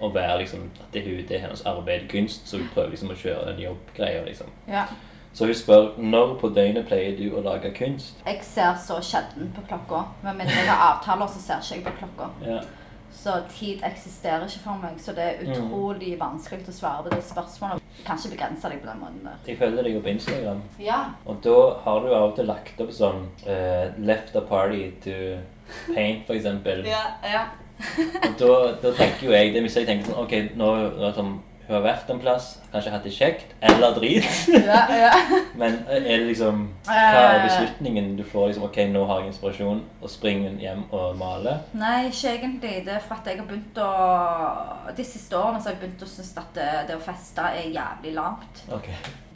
Speaker 1: og være liksom at det er hun, det er hennes arbeid, kunst, så hun prøver liksom å kjøre den jobbgreia, liksom.
Speaker 2: Ja.
Speaker 1: Så hun spør når på døgnet pleier du å lage kunst?
Speaker 2: Jeg ser så sjelden på klokka. Med mindre jeg har avtaler, så ser ikke jeg på klokka.
Speaker 1: Ja.
Speaker 2: Så tid eksisterer ikke for meg, så det
Speaker 1: Mm.
Speaker 2: er utrolig vanskelig å svare på det spørsmålet. Du kan ikke begrense deg på den måten der.
Speaker 1: Jeg følger deg jo på Instagram.
Speaker 2: Ja.
Speaker 1: Og da har du av og til lagt opp sånn eh, Left a party to paint, for eksempel.
Speaker 2: Ja, ja.
Speaker 1: Og da, da tenker jo jeg det hvis jeg tenker sånn Ok, nå nå er det sånn, hun har vært en plass, kanskje hatt det kjekt, eller drit.
Speaker 2: ja, ja.
Speaker 1: Men eh, er det liksom Hva er beslutningen du får? liksom, Ok, nå har jeg inspirasjon, og springer hjem og maler.
Speaker 2: Nei, ikke egentlig. Det er for at jeg har begynt å De siste årene så har jeg begynt å synes at det, det å feste er jævlig lamt.
Speaker 1: Ok.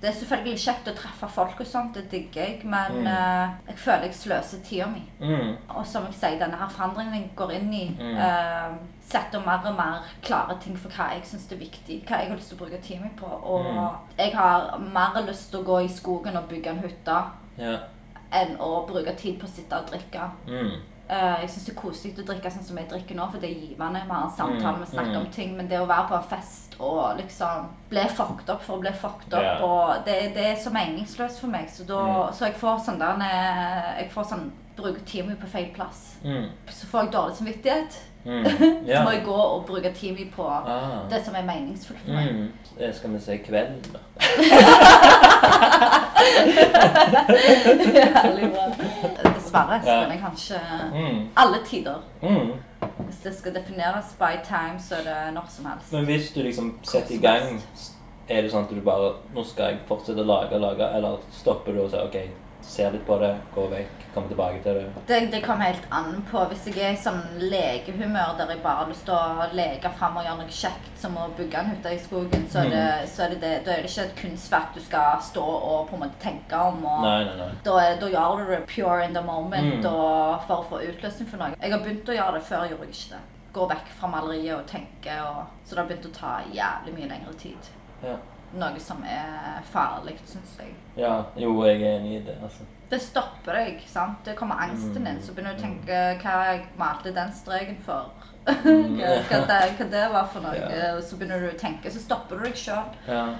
Speaker 2: Det er selvfølgelig kjekt å treffe folk og sånt, det digger jeg, men
Speaker 1: Mm.
Speaker 2: eh, jeg føler jeg sløser tida mi.
Speaker 1: Mm.
Speaker 2: Og som jeg sier, denne her forandringen jeg går inn i,
Speaker 1: Mm.
Speaker 2: eh, setter mer og mer klare ting for hva jeg syns er viktig. Hva jeg har lyst til å bruke tida mi på. Og
Speaker 1: Mm.
Speaker 2: jeg har mer lyst til å gå i skogen og bygge en hytte
Speaker 1: Ja.
Speaker 2: enn å bruke tid på å sitte og drikke.
Speaker 1: Mm.
Speaker 2: Eh, jeg syns det er koselig å drikke sånn som jeg drikker nå, for det er givende. Vi har en samtale,
Speaker 1: Mm,
Speaker 2: vi snakker
Speaker 1: mm.
Speaker 2: om ting, men det å være på en fest og liksom bli fucked opp for å bli fucked opp,
Speaker 1: Ja. Mm.
Speaker 2: og det, det er så meningsløst for meg. Så, da, så jeg får sånn der eh, Jeg får sånn Bruker tida mi på feil plass.
Speaker 1: Mm.
Speaker 2: Så får jeg dårlig samvittighet.
Speaker 1: Mm.
Speaker 2: Så
Speaker 1: Ja.
Speaker 2: må jeg gå og bruke tida mi på
Speaker 1: Ah.
Speaker 2: det som er meningsfullt for meg.
Speaker 1: Mm. Eh, Skal vi se kvelden, da?
Speaker 2: Jævlig bra. Dessverre så
Speaker 1: Ja.
Speaker 2: kan jeg kanskje
Speaker 1: Mm.
Speaker 2: Alle tider.
Speaker 1: Mm.
Speaker 2: Hvis det skal defineres by time, så er det når som helst.
Speaker 1: Men hvis du liksom setter i
Speaker 2: som
Speaker 1: gang, er det sånn at du bare Nå skal jeg fortsette å lage og lage, eller stopper du og sier OK, ser litt på det, går vekk, kommer tilbake til det?
Speaker 2: Det, det kommer helt an på. Hvis jeg er i sånn lekehumør der jeg bare har lyst til å leke fram og gjøre noe kjekt, som å bygge en hytte i skogen, så er det,
Speaker 1: Mm.
Speaker 2: så er det, det, da er det ikke et kunstverk du skal stå og på en måte tenke om. og...
Speaker 1: Nei, nei, nei.
Speaker 2: Da, da gjør du det pure in the moment
Speaker 1: Mm.
Speaker 2: og for å få utløsning for noe. Jeg har begynt å gjøre det, før gjorde jeg ikke det. Gå vekk fra maleriet og tenke, og, så det har begynt å ta jævlig mye lengre tid.
Speaker 1: Ja.
Speaker 2: Noe som er farlig, syns jeg.
Speaker 1: ja. Jo, jeg er enig i det, altså.
Speaker 2: Det stopper deg, sant? Det kommer angsten din, så begynner du å tenke hva jeg malte den streken for. hva, hva, det, hva det var for noe.
Speaker 1: Ja.
Speaker 2: Og så begynner du å tenke, så stopper du deg sjøl.
Speaker 1: Ja.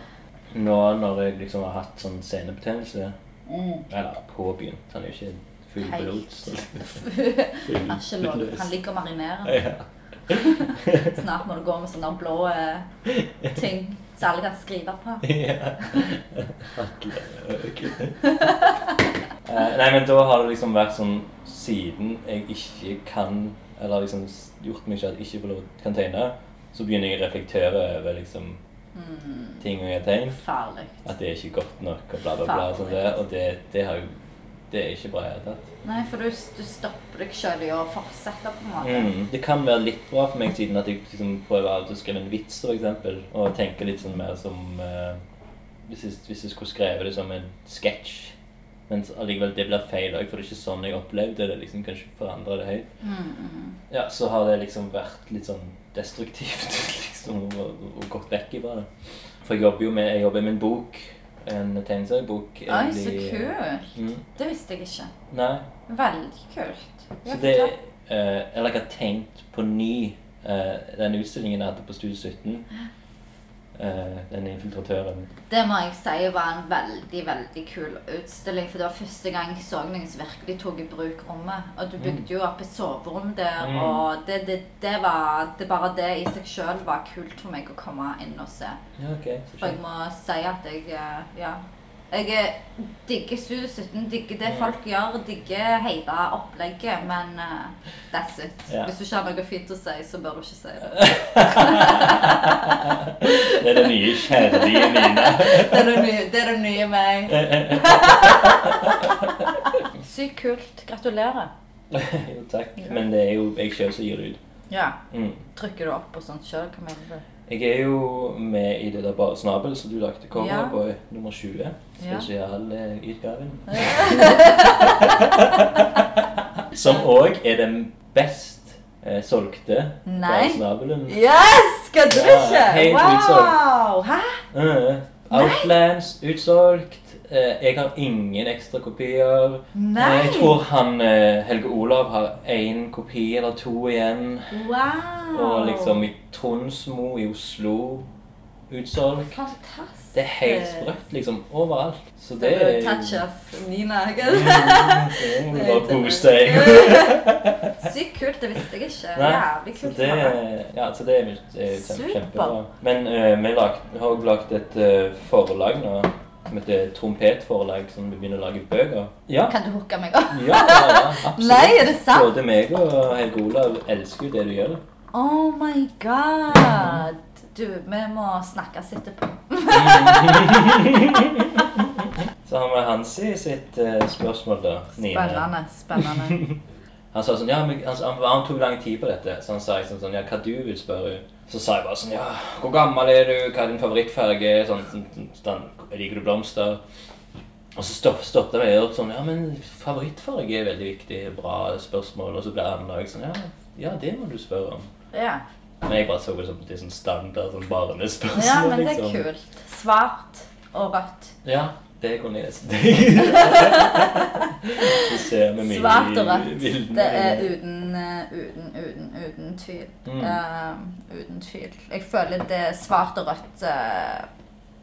Speaker 1: Nå når jeg liksom har hatt sånn senebetennelse,
Speaker 2: Mm.
Speaker 1: eller påbegynt, han er jo ikke full blods.
Speaker 2: Han er ikke lov. Han ligger og marinerer.
Speaker 1: Ja.
Speaker 2: Snart må du gå med sånne der blå eh, ting som alle kan skrive på.
Speaker 1: Ja. Hatløk. Eh, Nei, men da har det liksom vært sånn Siden jeg ikke kan Eller liksom s- gjort mye at jeg ikke får lov kan tegne, så begynner jeg å reflektere over liksom ting jeg har tegnet.
Speaker 2: Farlig.
Speaker 1: At det er ikke godt nok, og bla, bla, bla. og Sånn det, og det, det, har jo, det er ikke bra i det hele tatt.
Speaker 2: Nei, for du, du stopper deg sjøl i å fortsette, på en måte.
Speaker 1: Mm. Det kan være litt bra for meg, siden at jeg liksom prøver av og til å skrive en vits, for eksempel, og tenker litt sånn mer som eh, hvis, jeg, hvis jeg skulle skrevet det som en sketsj. Men så allikevel, det blir feil òg, for det er ikke sånn jeg opplevde det. liksom, Kanskje forandre det høyt.
Speaker 2: Mm,
Speaker 1: Ja, Så har det liksom vært litt sånn destruktivt, liksom, og, og gått vekk ifra det. For jeg jobber jo med, jeg jobber med en bok, en tegneseriebok.
Speaker 2: Oi, så
Speaker 1: egentlig.
Speaker 2: kult.
Speaker 1: Mm.
Speaker 2: Det visste jeg ikke.
Speaker 1: Nei,
Speaker 2: Veldig kult.
Speaker 1: så
Speaker 2: Ja,
Speaker 1: det
Speaker 2: fortell.
Speaker 1: eh, Eller jeg har tenkt på ny eh, Den utstillingen jeg hadde på Studio 17. eh, den infiltratøren.
Speaker 2: Det må jeg si var en veldig veldig kul utstilling. For det var første gang jeg så noen som virkelig tok i bruk rommet. Og du bygde jo opp et soverom der,
Speaker 1: Mm.
Speaker 2: og det, det, det var det Bare det i seg sjøl var kult for meg å komme inn og se.
Speaker 1: Ja, ok. Så
Speaker 2: For jeg
Speaker 1: skjønt.
Speaker 2: må si at jeg eh, Ja. Jeg eh, digger Studio 17, digger
Speaker 1: Mm.
Speaker 2: det folk gjør, digger hele opplegget, men eh, that's it.
Speaker 1: Ja.
Speaker 2: Hvis du ikke har noe fint å si, så bør du ikke si det.
Speaker 1: Det er det nye kjærlige mine.
Speaker 2: Det er det nye, det er det nye meg. Sykt kult. Gratulerer.
Speaker 1: jo, takk. Men det er jo jeg sjøl som gir det ut.
Speaker 2: Ja.
Speaker 1: Mm.
Speaker 2: Trykker du opp på sånt sjøl? Hva mener du?
Speaker 1: Jeg er jo med i det der Bare snabel som du lagde cover
Speaker 2: Ja.
Speaker 1: på nummer eh, 20.
Speaker 2: Ja.
Speaker 1: Spesialutgaven. Som òg er den best eh, solgte
Speaker 2: Nei.
Speaker 1: Bare snabelen.
Speaker 2: Yes! Kødder du
Speaker 1: Ja,
Speaker 2: ikke?
Speaker 1: helt
Speaker 2: Wow! Hæ?
Speaker 1: Eh, Outlands utsolgt. Eh, jeg har ingen ekstra kopier.
Speaker 2: Nei!
Speaker 1: Jeg tror han eh, Helge Olav har én kopi eller to igjen.
Speaker 2: Wow!
Speaker 1: Og liksom i Tronsmo i Oslo utsolgt.
Speaker 2: Fantastisk.
Speaker 1: Det er
Speaker 2: Eh.
Speaker 1: helt sprøtt liksom overalt. Så det
Speaker 2: er
Speaker 1: er
Speaker 2: jo Touch
Speaker 1: jo
Speaker 2: of Nina. ikke?
Speaker 1: Mm, det er jo bare boost deg.
Speaker 2: Sykt kult. Det visste jeg ikke.
Speaker 1: Nei,
Speaker 2: Jævlig
Speaker 1: Så
Speaker 2: kult.
Speaker 1: det, ja, så det er jo det er jo kjempe-
Speaker 2: Super.
Speaker 1: kjempebra. Men eh, vi lag, har også lagd et eh, forlag nå som heter Trompetforlag, som vi begynner å lage bøker. Ja,
Speaker 2: Kan du hooke meg opp?
Speaker 1: ja, ja, ja absolutt.
Speaker 2: Nei, er det sant?
Speaker 1: Både meg og Helge Olav elsker jo det du gjør.
Speaker 2: Oh my god! Du, vi må snakkes etterpå.
Speaker 1: Så har vi Hansi sitt eh, spørsmål, da. Nina.
Speaker 2: Spennende. spennende.
Speaker 1: Han sa sånn, ja, men han, han, han tok lang tid på dette, så han sa liksom sånn, ja, hva du vil spørre hun? Så sa jeg bare sånn, ja, hvor gammel er du, hva er din favorittfarge, sånn, sånn, sånn, sånn, liker du blomster? Og så stopp, stoppet jeg opp sånn, ja, men favorittfarge er veldig viktig, bra spørsmål, og så ble han også sånn, ja, ja, det må du spørre om.
Speaker 2: Ja.
Speaker 1: Men jeg bare så det som det er sånn standard, sånn barnespørsmål,
Speaker 2: ja, men det er
Speaker 1: liksom.
Speaker 2: kult. Svart og rødt.
Speaker 1: Ja, det kunne jeg lese. så ser vi mye
Speaker 2: Svart og rødt.
Speaker 1: vilden
Speaker 2: Det er
Speaker 1: øyne.
Speaker 2: uten, eh, uten, uten, uten tvil.
Speaker 1: Mm.
Speaker 2: Eh, uten tvil. Jeg føler det svart og rødt eh,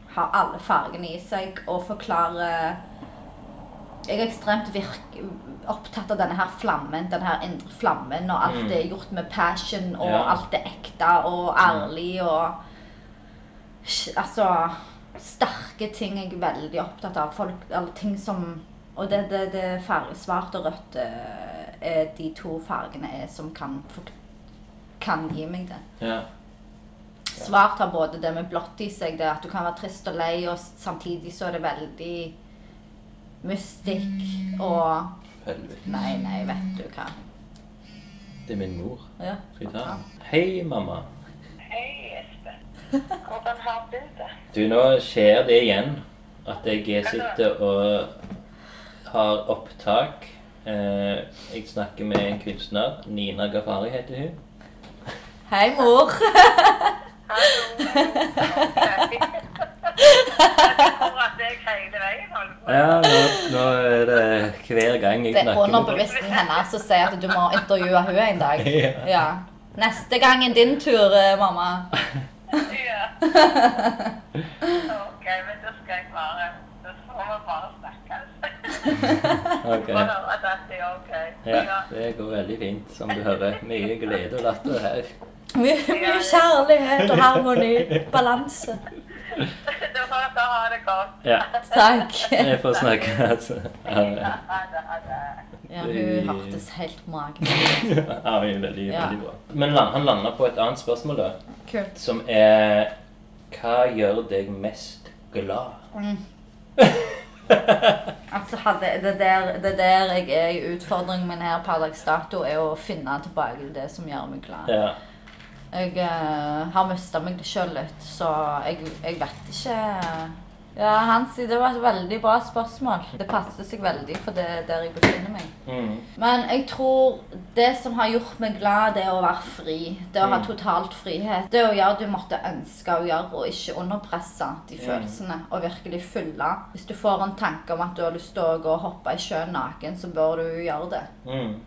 Speaker 2: har alle fargene i seg og forklarer Jeg er ekstremt virk, opptatt av denne her flammen, den her indre flammen, og alt
Speaker 1: Mm.
Speaker 2: det er gjort med passion, og
Speaker 1: Ja. Mm.
Speaker 2: alt er ekte og ærlig og Sj- Altså Sterke ting jeg er veldig opptatt av. Folk, eller ting som Og det, det, det er farge, svart og rødt eh, er de to fargene er som kan, fort- kan gi meg det.
Speaker 1: Ja,
Speaker 2: Svart har både det med blått i seg, det at du kan være trist og lei, og s- samtidig så er det veldig
Speaker 1: Mm.
Speaker 2: mystikk og
Speaker 1: helvete.
Speaker 2: Nei, nei, vet du hva.
Speaker 1: Det er min mor.
Speaker 2: Ja.
Speaker 1: Skal vi ta den? Hei, mamma.
Speaker 5: Hei, Espen. Hvordan har du det?
Speaker 1: Du, nå skjer det igjen at jeg sitter og har opptak. Eh, Jeg snakker med en kunstner. Nina Gafari heter hun.
Speaker 2: Hei, mor.
Speaker 5: Tror at jeg hele veien holder på.
Speaker 1: Ja, nå, nå er det hver gang jeg
Speaker 2: Det er
Speaker 1: snakker
Speaker 2: underbevisstheten hennes som sier at du må intervjue henne en dag.
Speaker 1: Ja.
Speaker 2: Ja. Neste gang er din tur, eh, mamma.
Speaker 5: Ja. Ok, men da skal jeg bare Da får vi bare snakkes.
Speaker 1: med henne.
Speaker 5: Og
Speaker 1: Ok.
Speaker 5: høre at dette er ok.
Speaker 1: Ja, det går veldig fint, som du hører. Mye glede og latter her.
Speaker 2: Mye, mye kjærlighet og harmoni. Balanse.
Speaker 5: Da får dere ha det godt.
Speaker 1: Ja,
Speaker 2: Takk.
Speaker 1: jeg får snakke, altså. Ja, ja.
Speaker 5: Ha det. Ha det.
Speaker 2: Ja, hun hørtes helt magisk
Speaker 1: Ja, veldig,
Speaker 2: Ja.
Speaker 1: veldig bra. Men land- han landa på et annet spørsmål, da.
Speaker 2: Kult.
Speaker 1: Som er Hva gjør deg mest glad?
Speaker 2: Mm. Altså, hadde, det, der, det der jeg er i utfordringen min her per dags dato, er å finne tilbake til det som gjør meg glad.
Speaker 1: Ja.
Speaker 2: Jeg eh, har mista meg det sjøl litt, så jeg, jeg vet ikke Ja, Hansi, det var et veldig bra spørsmål. Det passer seg veldig for det der jeg befinner meg.
Speaker 1: Mm.
Speaker 2: Men jeg tror det som har gjort meg glad, det er å være fri. Det å ha
Speaker 1: Mm.
Speaker 2: totalt frihet. Det å gjøre det du måtte ønske å gjøre, og ikke underpresse de
Speaker 1: Mm.
Speaker 2: følelsene. Og virkelig fylle. Hvis du får en tanke om at du har lyst til å gå og hoppe i sjøen naken, så bør du gjøre det
Speaker 1: Mm.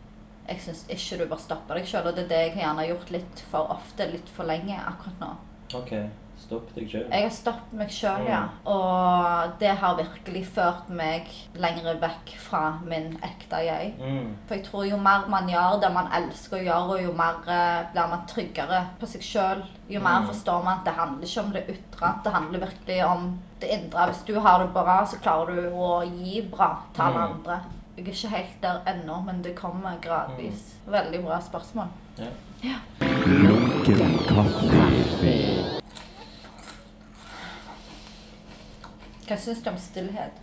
Speaker 2: jeg syns ikke du bør stoppe deg sjøl. Og det er det jeg gjerne har gjort litt for ofte, litt for lenge akkurat nå.
Speaker 1: OK. Stopp deg sjøl.
Speaker 2: Jeg har stoppet meg sjøl, ja. Og det har virkelig ført meg lenger vekk fra min ekte jeg.
Speaker 1: Mm.
Speaker 2: For jeg tror jo mer man gjør det man elsker å gjøre, og jo mer eh, blir man tryggere på seg sjøl. Jo mer forstår man at det handler ikke om det ytre, det handler virkelig om det indre. Hvis du har det bra, så klarer du å gi bra til alle andre. Jeg er ikke helt der ennå, men det kommer gradvis. Veldig bra spørsmål.
Speaker 1: Ja.
Speaker 3: Lunken kaffe.
Speaker 2: Hva syns du om stillhet?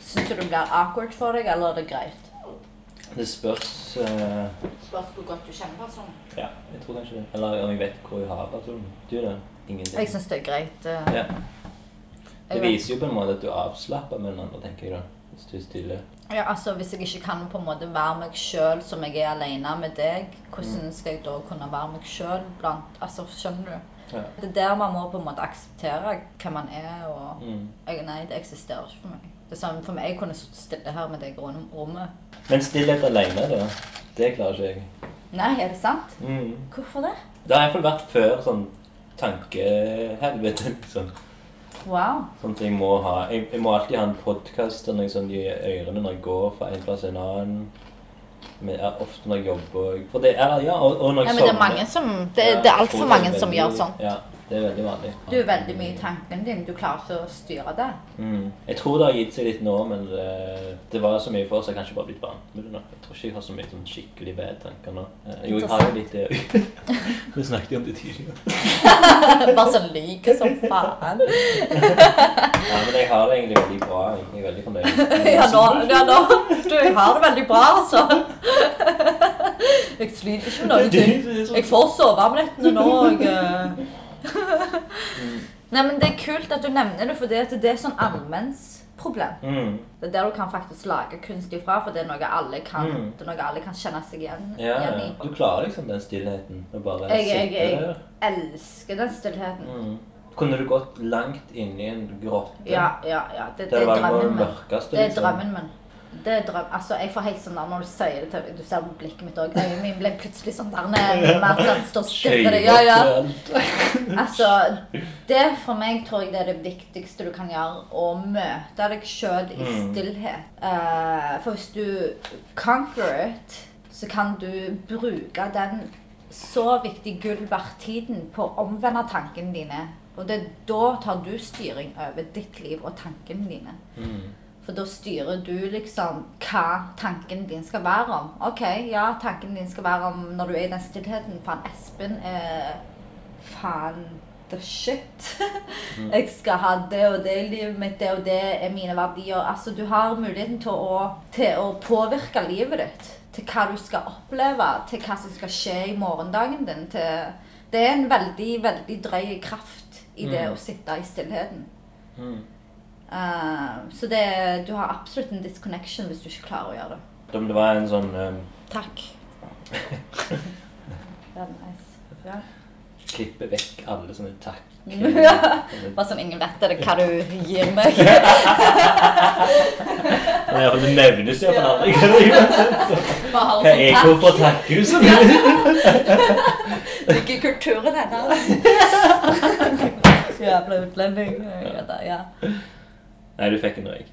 Speaker 2: Syns du det blir awkward for deg, eller er det greit?
Speaker 1: Det spørs eh,
Speaker 2: Spørs hvor godt du kjenner personen.
Speaker 1: Ja, jeg tror kanskje det. Eller om jeg vet hvor jeg har personen. Du det? Ingenting.
Speaker 2: Jeg syns det er greit. eh,
Speaker 1: Ja. Det
Speaker 2: jeg vet-
Speaker 1: viser jo på en måte at du er avslappa med den andre, tenker jeg da. Hvis du er stille.
Speaker 2: Ja, altså Hvis jeg ikke kan på en måte være meg sjøl som jeg er alene med deg,
Speaker 1: Mm.
Speaker 2: hvordan skal jeg da kunne være meg sjøl blant Altså, skjønner du?
Speaker 1: Ja.
Speaker 2: Det er der man må på en måte akseptere hvem man er, og
Speaker 1: Mm.
Speaker 2: jeg, Nei, det eksisterer ikke for meg. Det er sånn, For meg jeg kunne sittet stille her med deg rundt om rommet.
Speaker 1: Men stillhet alene, da. Det klarer ikke jeg.
Speaker 2: Nei, er det sant?
Speaker 1: Mm.
Speaker 2: Hvorfor det?
Speaker 1: Det har iallfall vært før sånn tankehelvete, liksom.
Speaker 2: Wow.
Speaker 1: Sånn at jeg må ha Jeg, jeg må alltid ha en podkast eller noe sånt i sånn, ørene når jeg går fra en plass til en annen. Men ja, ofte når jeg jobber og For det er ja, og, og når
Speaker 2: Ja,
Speaker 1: jeg
Speaker 2: men det er mange som Det, det er altfor mange som gjør sånn.
Speaker 1: Ja, det er veldig vanlig.
Speaker 2: Du er veldig mye i tanken din. Du klarer ikke å styre det.
Speaker 1: Mm. Jeg tror det har gitt seg litt nå, men det, det var så mye for oss. Jeg har kanskje bare blitt vant med det nå. Jeg tror ikke jeg har så mye sånn skikkelig vedtanker nå. Eh, Jo, jeg har jo litt eh, det òg. Vi snakket jo om det tidligere.
Speaker 2: Bare sånn lyk som faen.
Speaker 1: Ja, men jeg har det egentlig veldig bra. Jeg er veldig fornøyd.
Speaker 2: Ja, nå, ja, nå. Du, jeg har det veldig bra, altså. Jeg sliter ikke med noen ting. Jeg får sove om nettene nå. Jeg, eh. Nei, men Det er kult at du nevner det, for det, at det er sånn allmennsproblem.
Speaker 1: Mm.
Speaker 2: Det er der du kan faktisk lage kunst ifra, for det er noe alle kan,
Speaker 1: Mm.
Speaker 2: det er noe alle kan kjenne seg igjen,
Speaker 1: Ja,
Speaker 2: igjen
Speaker 1: ja.
Speaker 2: i.
Speaker 1: du klarer liksom den stillheten. Å bare
Speaker 2: Jeg, jeg,
Speaker 1: sitte
Speaker 2: jeg
Speaker 1: der.
Speaker 2: elsker den stillheten.
Speaker 1: Mm. Kunne du gått langt inn i en grotte?
Speaker 2: Ja, ja, ja. Det,
Speaker 1: Der
Speaker 2: det er
Speaker 1: var det
Speaker 2: drømmen
Speaker 1: det
Speaker 2: min.
Speaker 1: mørkeste.
Speaker 2: Det er drømmen min. Det er drøm. Altså, jeg får helt sånn der når du sier det til meg, Du ser på blikket mitt òg. Øynene mine ble plutselig sånn der nede. Mer sånn står stille.
Speaker 1: Skøyer
Speaker 2: Ja, ja.
Speaker 1: til alt.
Speaker 2: Altså, det for meg tror jeg det er det viktigste du kan gjøre. Å møte deg sjøl i
Speaker 1: Mm.
Speaker 2: stillhet. Eh, for hvis du conquer it, så kan du bruke den så viktig gull verdt tiden på å omvende tankene dine. Og det er da tar du styring over ditt liv og tankene dine. For da styrer du liksom hva tanken din skal være om. Ok, ja, tanken din skal være om når du er i den stillheten. Faen, Espen er faen the shit. Jeg skal ha det og det i livet mitt, det og det er mine verdier. Altså, du har muligheten til å, til å påvirke livet ditt. Til hva du skal oppleve, til hva som skal skje i morgendagen din. Til det er en veldig, veldig drøy kraft i det
Speaker 1: Mm.
Speaker 2: å sitte i stillheten.
Speaker 1: Mm.
Speaker 2: Eh, så det, du har absolutt en disconnection hvis du ikke klarer å gjøre det.
Speaker 1: Om det var en sånn um,
Speaker 2: Takk. Veldig nice. Ja.
Speaker 1: Klippe vekk alle sånne takk
Speaker 2: Bare sånn ingen vet det, hva du gir meg.
Speaker 1: Men i hvert fall Det nevnes jo for alle. Hva
Speaker 2: Bare har
Speaker 1: er ekko for takkhuset?
Speaker 2: Ikke kulturen hennes. Jævla utlending. Ja, da, ja.
Speaker 1: Nei, du fikk en røyk.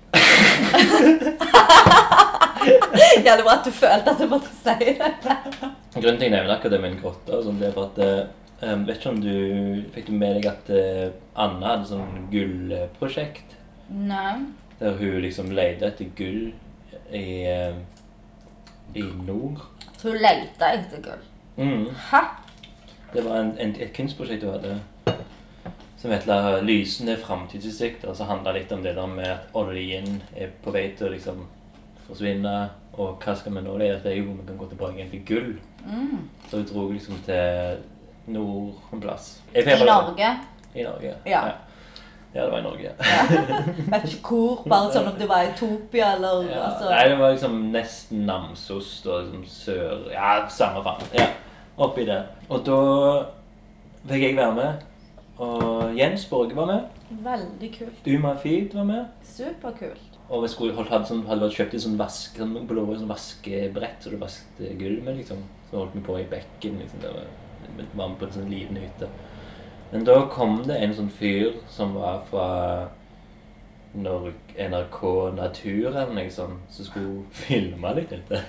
Speaker 2: Jævlig bra at du følte at du måtte si det.
Speaker 1: Grunnen til jeg nevner akkurat det med en grotte, og sånn, det er for at eh, um, Vet ikke om du fikk du med deg at eh, Anna hadde sånn gullprosjekt?
Speaker 2: Nei.
Speaker 1: Der hun liksom leide etter gull i, eh, i nord.
Speaker 2: Hun leita etter gull.
Speaker 1: Mm.
Speaker 2: Hæ?
Speaker 1: Det var en, en, et kunstprosjekt hun hadde som heter 'Lysende framtidsutsikter', som handla litt om det der med at oljen er på vei til å liksom forsvinne, og hva skal vi nå leve til? Jo, vi kan gå tilbake igjen til gull.
Speaker 2: Mm.
Speaker 1: Så hun dro liksom til nord en plass. Jeg
Speaker 2: I
Speaker 1: pleier bare-
Speaker 2: Norge?
Speaker 1: I Norge.
Speaker 2: Ja.
Speaker 1: ja. Ja, det var i Norge. ja.
Speaker 2: Vet ikke hvor. Bare sånn om det var Etopia eller
Speaker 1: Ja,
Speaker 2: altså.
Speaker 1: Nei, det var liksom nesten Namsos og liksom sør... Ja, samme faen. Ja, oppi det. Og da fikk jeg være med. Og Jens Borge var med.
Speaker 2: Veldig kult.
Speaker 1: Uma Feed var med.
Speaker 2: Superkult.
Speaker 1: Og vi skulle holdt, hadde, sånn, hadde kjøpt et sånn vask, sånn, blå sånn vaskebrett, så du vasket gulv med, liksom. Så holdt vi på i bekken, liksom. Det var, vi var på en sånn liten hytte. Men da kom det en sånn fyr som var fra Nor NRK Natur eller noe sånt, som skulle filme litt dette.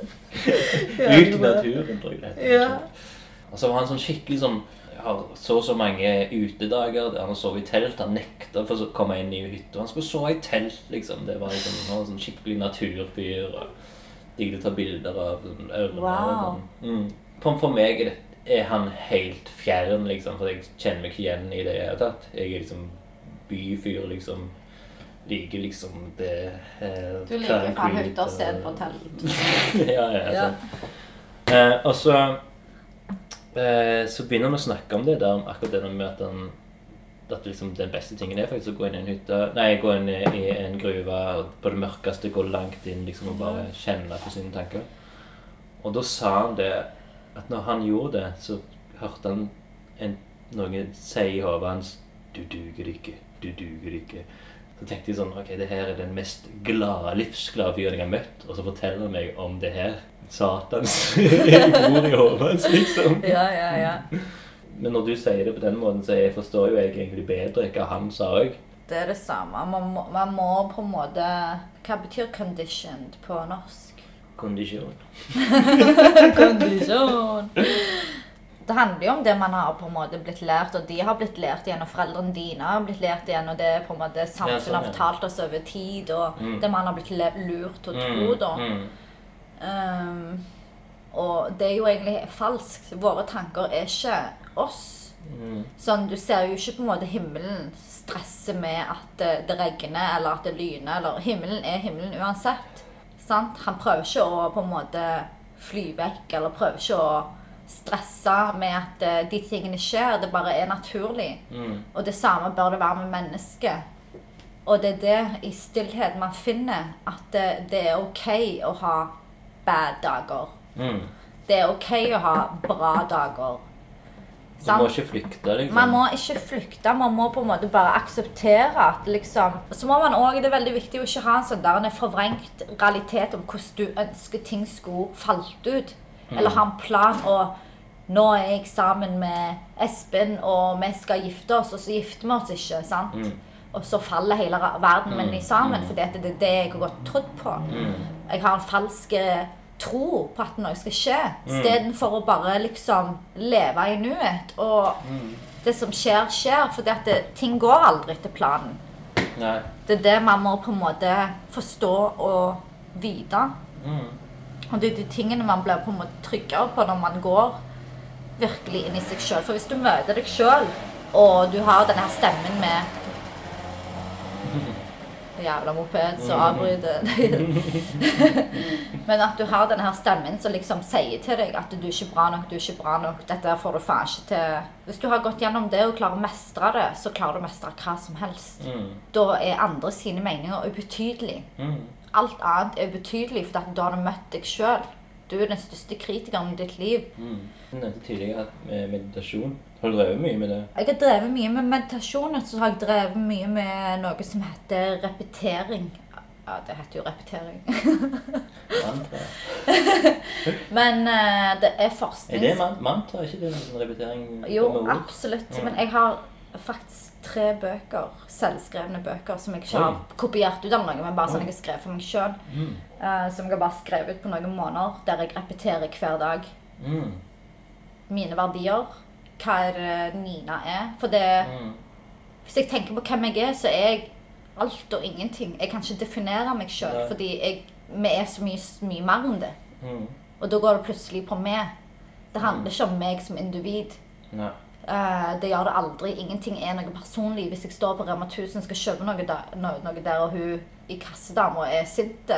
Speaker 1: Ut i naturen, tror jeg det heter.
Speaker 2: Ja.
Speaker 1: Og så var han sånn skikkelig sånn ja, har så og så mange utedager der han har sovet i telt. Han nekta for å komme inn i hytta. Han skulle sove i telt, liksom. Det var liksom, Han var en sånn skikkelig naturfyr. og Digget å ta bilder av sånn, ørner.
Speaker 2: Wow.
Speaker 1: og Sånn. Mm. For, for meg er, det, er han helt fjern, liksom. For jeg kjenner meg ikke igjen i det i det hele tatt. Jeg er liksom byfyr, liksom. Liker liksom det eh,
Speaker 6: Du liker fra
Speaker 1: concrete
Speaker 6: hytter, sted
Speaker 1: og-
Speaker 6: for telt.
Speaker 1: ja, ja,
Speaker 2: Ja.
Speaker 1: sant. Eh, og så eh, så begynner vi å snakke om det der, om akkurat det der med at den, at liksom den beste tingen er faktisk å gå inn i en hytte Nei, gå inn i, i en gruve og på det mørkeste, gå langt inn liksom og bare kjenne på sine tanker. Og da sa han det at når han gjorde det, så hørte han en, noen si i hodet hans Du duger ikke. Du duger ikke. Så tenkte jeg sånn Ok, det her er den mest glade, livsglade fyren jeg har møtt, og så forteller han meg om det her. Satans ord i hodet hans, liksom.
Speaker 2: Ja, ja, ja.
Speaker 1: Men når du sier det på den måten, så jeg forstår jo jeg egentlig bedre hva han sa òg.
Speaker 2: Det er det samme. Man må, man må på en måte Hva betyr 'conditioned' på norsk?
Speaker 1: Kondisjon.
Speaker 2: Kondisjon. Det handler jo om det man har på en måte blitt lært, og de har blitt lært igjen, og foreldrene dine har blitt lært igjen, og det er på en måte
Speaker 1: Ja, sånn,
Speaker 2: samfunnet har
Speaker 1: ja.
Speaker 2: fortalt oss over tid, og
Speaker 1: Mm.
Speaker 2: det man har blitt le- lurt og tro, da. Um, og det er jo egentlig falskt. Våre tanker er ikke oss. Sånn, Du ser jo ikke på en måte himmelen stresse med at eh, det, det regner eller at det lyner. eller Himmelen er himmelen uansett. Sant? Han prøver ikke å på en måte fly vekk eller prøver ikke å stresse med at eh, de tingene skjer. Det bare er naturlig. Og det samme bør det være med mennesket. Og det er det i stillhet man finner at det, det er OK å ha bad dager. Det er OK å ha bra dager.
Speaker 1: Du må ikke flykte, liksom.
Speaker 2: Man må ikke flykte, man må på en måte bare akseptere at liksom Så må man også, det er veldig viktig å ikke ha en sånn der en forvrengt realitet om hvordan du ønsker ting skulle falt ut. Eller ha en plan og Nå er jeg sammen med Espen, og vi skal gifte oss, og så gifter vi oss ikke, sant? Og så faller hele ra- verden min i sammen, fordi at det er det jeg har gått trodd på. Jeg har en falsk eh, tro på at noe skal skje, istedenfor å bare liksom leve i nuet og det som skjer, skjer. For det at det, ting går aldri etter planen.
Speaker 1: Nei.
Speaker 2: Det er det man må på en måte forstå og vite. Og det er de tingene man blir på en måte tryggere på når man går virkelig inn i seg sjøl. For hvis du møter deg sjøl, og du har denne her stemmen med Jævla moped som avbryter Men at du har denne her stemmen som liksom sier til deg at du er ikke bra nok, du er ikke bra nok, dette her får du faen ikke til Hvis du har gått gjennom det og klarer å mestre det, så klarer du å mestre hva som helst.
Speaker 1: Mm.
Speaker 2: Da er andre sine meninger ubetydelige. Alt annet er ubetydelig, for da har du møtt deg sjøl. Du er den største kritikeren i ditt liv.
Speaker 1: Mm. Du nevnte tidligere at med meditasjon Har du drevet mye med det?
Speaker 2: Jeg har drevet mye med meditasjon, og så har jeg drevet mye med noe som heter repetering. Ja, det heter jo repetering.
Speaker 1: Mantra?
Speaker 2: Men eh, det er forskning
Speaker 1: Er det man mantra? Er ikke det en repetering
Speaker 2: Jo,
Speaker 1: med ord?
Speaker 2: absolutt. Men jeg har faktisk tre bøker, selvskrevne bøker, som jeg ikke har
Speaker 1: Oi. Mm.
Speaker 2: kopiert ut av noe, men bare sånn jeg har skrevet for meg sjøl. som jeg har bare skrevet ut på noen måneder, der jeg repeterer hver dag
Speaker 1: Mm.
Speaker 2: mine verdier. Hva er det Nina er? For det
Speaker 1: Mm.
Speaker 2: Hvis jeg tenker på hvem jeg er, så er jeg alt og ingenting. Jeg kan ikke definere meg sjøl,
Speaker 1: Nei.
Speaker 2: fordi jeg, vi er så mye, mye mer enn det.
Speaker 1: Mm.
Speaker 2: Og da går det plutselig på meg. Det handler ikke om meg som individ.
Speaker 1: Nei.
Speaker 2: Eh, det gjør det aldri. Ingenting er noe personlig. Hvis jeg står på Rema 1000 og skal kjøpe noe der, noe, noe der og hun i kassedama er sint,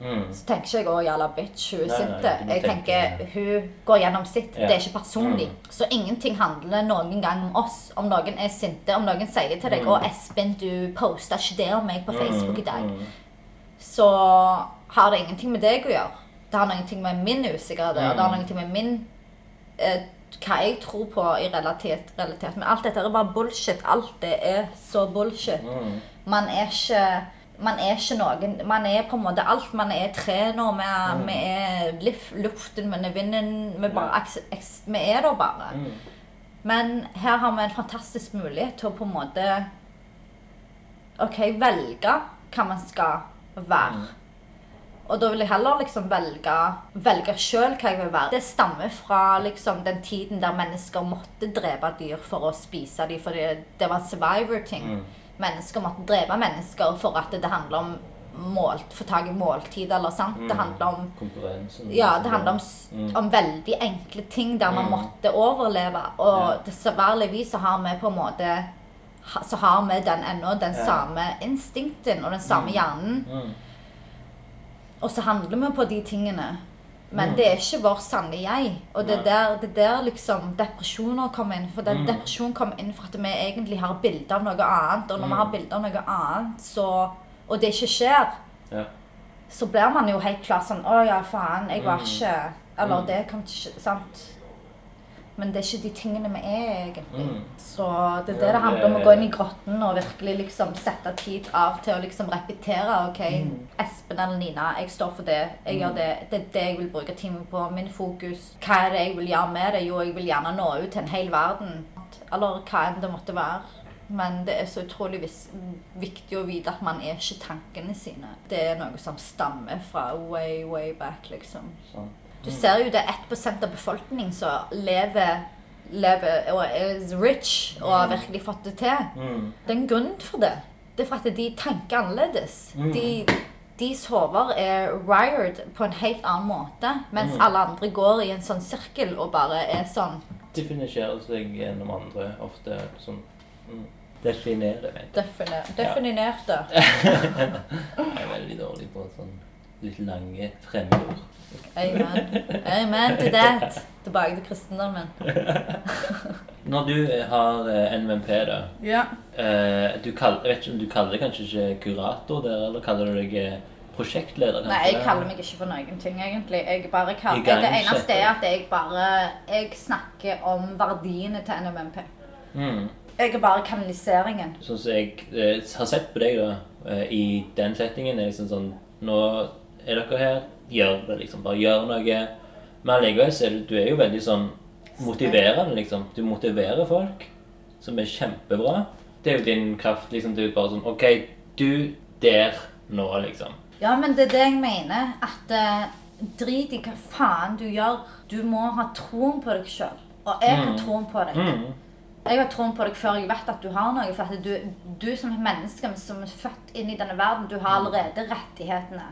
Speaker 1: Mm.
Speaker 2: så tenker ikke jeg 'å, jalla bitch, hun er
Speaker 1: Nei, nei,
Speaker 2: sint'.
Speaker 1: du må
Speaker 2: Jeg
Speaker 1: tenke-
Speaker 2: tenker hun går gjennom sitt.
Speaker 1: Ja. Mm.
Speaker 2: Det er ikke personlig. Så ingenting handler noen gang om oss. Om noen er sinte, om noen sier til deg 'Å, Espen, du posta ikke det om meg på Facebook i dag',
Speaker 1: Mm. Mm.
Speaker 2: så har det ingenting med deg å gjøre. Det har ingenting med min usikkerhet å gjøre. Det har
Speaker 1: Mm.
Speaker 2: ingenting med min eh, Hva jeg tror på i realitet, realitet. Men alt dette er bare bullshit. Alt det er så bullshit. Man er ikke man er ikke noen Man er på en måte alt. Man er tre nå. Vi er, vi er lif- luften, vi er vinden. Vi, bare, eks- eks- vi er der bare. Men her har vi en fantastisk mulighet til å på en måte OK, velge hva man skal være. Og da vil jeg heller liksom velge, velge sjøl hva jeg vil være. Det stammer fra liksom den tiden der mennesker måtte drepe dyr for å spise dem, for det, det var survivor-ting. Mennesker måtte drepe mennesker for at det handler om målt, få tak i måltid eller sant. Det handler om
Speaker 1: Konkurransen.
Speaker 2: ja, det handler om, s-
Speaker 1: Mm.
Speaker 2: om veldig enkle ting der man måtte overleve.
Speaker 1: Ja.
Speaker 2: Og dessverreligvis så har vi på en måte ha- Så har vi den ennå, den
Speaker 1: Ja.
Speaker 2: samme instinkten og den samme hjernen.
Speaker 1: Mm.
Speaker 2: Og så handler vi på de tingene. Men
Speaker 1: Mm.
Speaker 2: det er ikke vår sanne jeg. Og det er der, det er der liksom depresjoner kommer inn. For
Speaker 1: Mm.
Speaker 2: den depresjon kommer inn for at vi egentlig har bilde av noe annet.
Speaker 1: Mm.
Speaker 2: Og når vi har bilde av noe annet, så Og det ikke skjer,
Speaker 1: Ja.
Speaker 2: så blir man jo helt klart sånn Å ja, faen, jeg var ikke Eller det kom til ikke Sant? Men det er ikke de tingene vi er, egentlig.
Speaker 1: Mm.
Speaker 2: Så det
Speaker 1: Ja,
Speaker 2: er det det handler om. Å
Speaker 1: det-
Speaker 2: gå inn i grotten og virkelig liksom sette tid av til å liksom repetere. OK,
Speaker 1: Mm.
Speaker 2: Espen eller Nina, jeg står for det. Jeg gjør det. Det er det jeg vil bruke timen på. Min fokus. Hva er det jeg vil gjøre med det? Jo, jeg vil gjerne nå ut til en hel verden. Eller hva enn det måtte være. Men det er så utrolig vis viktig å vite at man er ikke tankene sine. Det er noe som stammer fra way, way back, liksom.
Speaker 1: Sånn.
Speaker 2: Du ser jo det er 1 av befolkningen som lever, lever og er rich og har virkelig fått det til.
Speaker 1: Mm.
Speaker 2: Det er en grunn for det. Det er for at de tenker annerledes. De, deres hoder er wired på en helt annen måte, mens alle andre går i en sånn sirkel og bare er sånn
Speaker 1: Definisjerer seg gjennom andre ofte sånn mm. Definere, vet
Speaker 2: defini definerte.
Speaker 1: jeg. Jeg er veldig dårlig på sånn litt lange fremmedord.
Speaker 2: Amen. Amen to that. Tilbake til kristendommen.
Speaker 1: Når du eh, har eh, NVMP, da
Speaker 6: Ja.
Speaker 1: eh, du kall- Jeg vet ikke om du kaller deg kanskje ikke kurator der, eller kaller du deg eh, prosjektleder?
Speaker 2: Nei, jeg kaller meg ikke for noen ting, egentlig. Jeg bare kaller,
Speaker 1: Igangsetter.
Speaker 2: det eneste er at jeg bare jeg snakker om verdiene til NMMP.
Speaker 1: Mm.
Speaker 2: Jeg er bare kanaliseringen.
Speaker 1: Sånn som jeg eh, har sett på deg da, eh, i den settingen, er liksom sånn Nå er dere her, gjør det, liksom. Bare gjør noe. Men allikevel så er du, du er jo veldig sånn motiverende, liksom. Du motiverer folk, som er kjempebra. Det er jo din kraft, liksom. Du er bare sånn OK, du der nå, liksom.
Speaker 2: Ja, men det er det jeg mener. At eh, drit i hva faen du gjør. Du må ha troen på deg sjøl. Og jeg har troen på deg.
Speaker 1: Mm.
Speaker 2: Jeg har troen på deg før jeg vet at du har noe. For at du, du som er menneske som er født inn i denne verden, du har allerede rettighetene.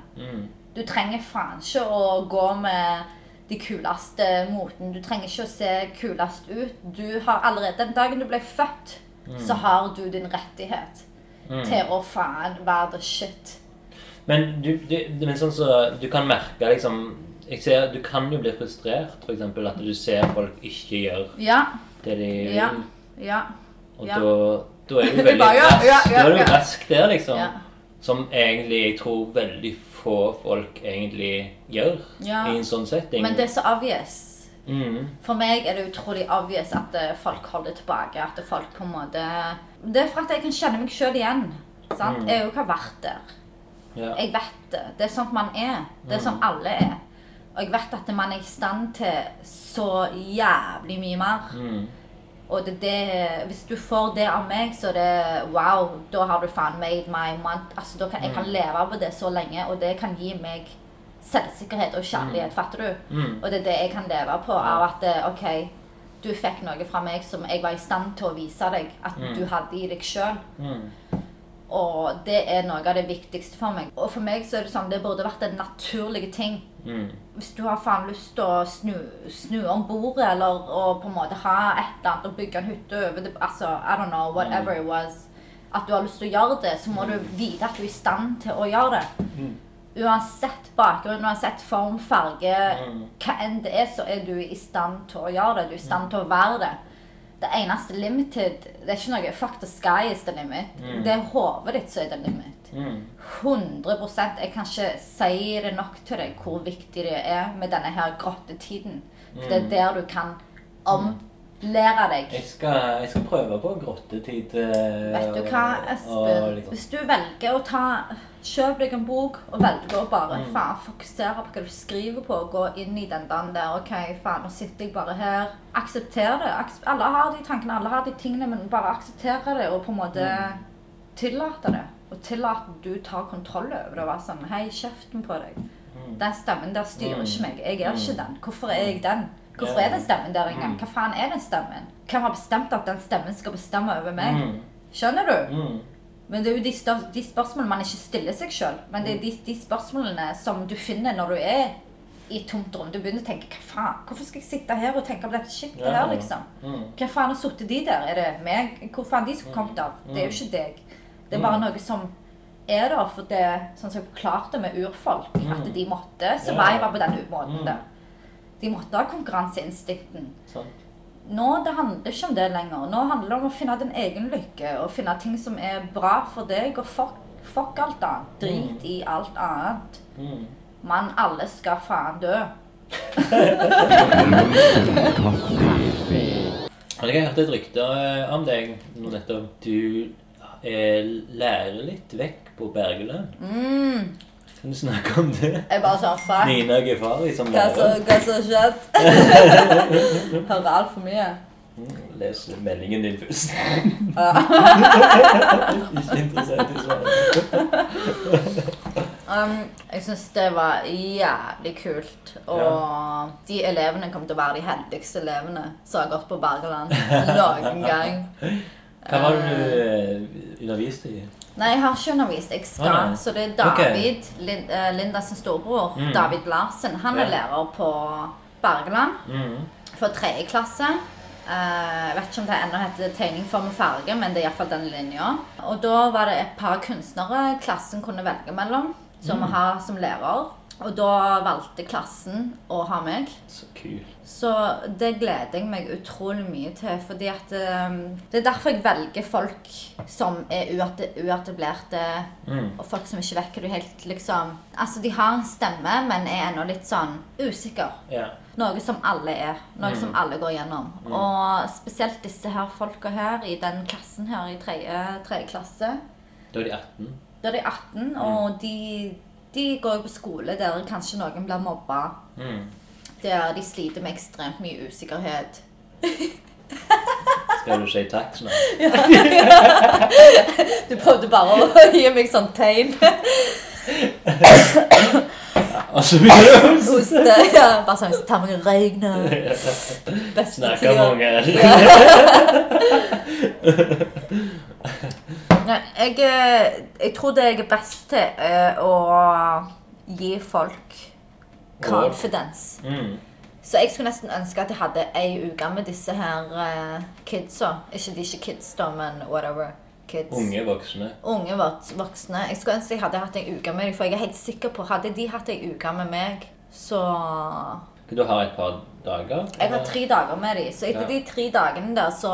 Speaker 2: Du trenger faen ikke å gå med de kuleste moten. Du trenger ikke å se kulest ut. Du har allerede Den dagen du ble født, så har du din rettighet til å faen være the shit.
Speaker 1: Men du, du, men sånn så, du kan merke liksom jeg ser, Du kan jo bli frustrert, f.eks. At du ser folk ikke gjør
Speaker 2: Ja.
Speaker 1: det de vil.
Speaker 2: Ja. Ja.
Speaker 1: Og
Speaker 2: Ja.
Speaker 1: da, da er du
Speaker 2: Det
Speaker 1: veldig
Speaker 2: bare, ja,
Speaker 1: rask.
Speaker 2: ja, ja,
Speaker 1: da er du
Speaker 2: ja.
Speaker 1: rask der, liksom.
Speaker 2: Ja.
Speaker 1: Som egentlig jeg tror veldig få folk egentlig gjør
Speaker 2: Ja.
Speaker 1: i en sånn setting.
Speaker 2: Men det er så obvious.
Speaker 1: mm.
Speaker 2: For meg er det utrolig obvious at eh, folk holder tilbake. At folk på en måte Det er for at jeg kan kjenne meg sjøl igjen. Sant? Jeg har jo ikke vært der.
Speaker 1: ja.
Speaker 2: Jeg vet det. Det er sånn man er. Det er sånn alle er. Og jeg vet at man er i stand til så jævlig mye mer. Og det, det, hvis du får det av meg, så er det wow, da har du faen made my month. Altså, da kan, jeg kan leve på det så lenge, og det kan gi meg selvsikkerhet og kjærlighet, fatter du? Og det er det jeg kan leve på, av at eh, OK, du fikk noe fra meg som jeg var i stand til å vise deg at du hadde i deg sjøl. Og det er noe av det viktigste for meg. Og for meg så er det sånn, det burde vært en naturlig ting. Hvis du har faen lyst til å snu, snu om bordet, eller å på en måte ha et eller annet og bygge en hytte over det, altså, I don't know, whatever it was, at du har lyst til å gjøre det, så må du vite at du er i stand til å gjøre det. Uansett bakgrunn, uansett form, farge, hva enn det er, så er du i stand til å gjøre det. Du er i stand til å være det. Det eneste limited Det er ikke noe fuck the sky is the limit. Det er hodet ditt som er the limit. 100 Jeg kan ikke si det nok til deg hvor viktig det er med denne her grottetiden. For det er der du kan omlære deg.
Speaker 1: Jeg, skal, jeg skal prøve på grottetid. eh, liksom-
Speaker 2: Vet du hva, Espen?
Speaker 1: sånn.
Speaker 2: Hvis du velger å ta Kjøp deg en bok og velger å bare faen, fokusere på hva du skriver på. Gå inn i den dagen der. OK, faen, nå sitter jeg bare her. Aksepter det. Akse- alle har de tankene, alle har de tingene, men bare akseptere det og på en måte tillate det. Og tillate at du tar kontroll over det. og være sånn Hei, kjeften på deg. den stemmen der styrer ikke meg. Jeg er ikke den. Hvorfor er jeg den?
Speaker 1: Ja.
Speaker 2: Hvorfor
Speaker 1: Mm.
Speaker 2: er den stemmen der engang? Hva faen er den stemmen? Hvem har bestemt at den stemmen skal bestemme over meg?
Speaker 1: Mm.
Speaker 2: Skjønner du?
Speaker 1: Mm.
Speaker 2: Men det er jo de, stør- de spørsmålene man ikke stiller seg sjøl. Men
Speaker 1: Mm.
Speaker 2: det er de, de spørsmålene som du finner når du er i et tomt rom. Du begynner å tenke hva faen, hvorfor skal jeg sitte her og tenke på dette shitet
Speaker 1: Ja.
Speaker 2: her, liksom?
Speaker 1: Mm.
Speaker 2: Hva faen har sittet de der? Er det meg? Hvor faen de skulle kommet av? Det
Speaker 1: Mm.
Speaker 2: er jo ikke deg. Det er bare noe som er der for det, sånn som jeg forklarte med urfolk,
Speaker 1: Mm.
Speaker 2: at de måtte survive på den måten der. De måtte ha konkurranseinstinkten.
Speaker 1: Sant.
Speaker 2: Nå det handler ikke om det lenger. Nå handler det om å finne din egen lykke, og finne ting som er bra for deg, og fuck, fuck alt annet. Drit i alt annet.
Speaker 1: Mm.
Speaker 2: Mann, alle skal faen dø.
Speaker 3: Lunken kaffe.
Speaker 1: Hadde jeg hørt et rykte eh, om deg nå nettopp. Du eh, lærer litt vekk på Bergeløn.
Speaker 2: Mm.
Speaker 1: Kan du snakke om det?
Speaker 2: Jeg bare sånn, fuck.
Speaker 1: Nina Gefari som
Speaker 2: Hva
Speaker 1: lærer.
Speaker 2: som hva som har skjedd? Hører altfor mye.
Speaker 1: Les meldingen din først.
Speaker 2: Ja.
Speaker 1: Ikke interessert i svaret.
Speaker 2: Um, jeg syns det var jævlig kult. Og de elevene kom til å være de heldigste elevene som har gått på Bergeland noen gang.
Speaker 1: Hva var det du eh, underviste i?
Speaker 2: Nei, jeg har ikke undervist. Jeg skal.
Speaker 1: Å, nei.
Speaker 2: så det er
Speaker 1: Ok. Mm.
Speaker 2: David, Lin eh, Linda sin storebror, David Larsen. Han er
Speaker 1: Ja.
Speaker 2: lærer på Bergeland
Speaker 1: Mm.
Speaker 2: for tredje klasse. Eh, jeg vet ikke om det ennå heter tegning, form og farge, men det er iallfall den linja. Og da var det et par kunstnere klassen kunne velge mellom, som
Speaker 1: Mm.
Speaker 2: vi har som lærer. Og da valgte klassen å ha meg.
Speaker 1: Så kult.
Speaker 2: Så det gleder jeg meg utrolig mye til. fordi at um, Det er derfor jeg velger folk som er uarte- uartikulerte, og folk som ikke vekker du helt liksom Altså, de har en stemme, men er ennå litt sånn usikker.
Speaker 1: Ja.
Speaker 2: Noe som alle er. Noe som alle går gjennom. Og spesielt disse her folka her i den klassen her i tredje tredje klasse.
Speaker 1: Da er de 18.
Speaker 2: Da er de
Speaker 1: Mm.
Speaker 2: 18, og de, de går jo på skole der kanskje noen blir mobba.
Speaker 1: Mm.
Speaker 2: Der de sliter med ekstremt mye usikkerhet.
Speaker 1: Skal du si takk snart?
Speaker 2: Du prøvde bare å gi meg sånn tegn.
Speaker 1: Og så videre.
Speaker 2: Hoste. Ja, bare sånn Ta meg en røyk nå. Beste
Speaker 1: Snakker
Speaker 2: tida.
Speaker 1: mange.
Speaker 2: Nei, jeg, eh, jeg tror det jeg er best til, er å gi folk confidence.
Speaker 1: Mm.
Speaker 2: Så jeg skulle nesten ønske at jeg hadde ei uke med disse her eh, kidsa. Ikke de er ikke kids, da, men whatever. Kids.
Speaker 1: Unge voksne.
Speaker 2: Unge vok- voksne. Jeg skulle ønske jeg hadde hatt ei uke med dem, for jeg er helt sikker på Hadde de hatt ei uke med meg, så
Speaker 1: Du har et par dager?
Speaker 2: Jeg har tre dager med dem, så etter
Speaker 1: Ja.
Speaker 2: de tre dagene der, så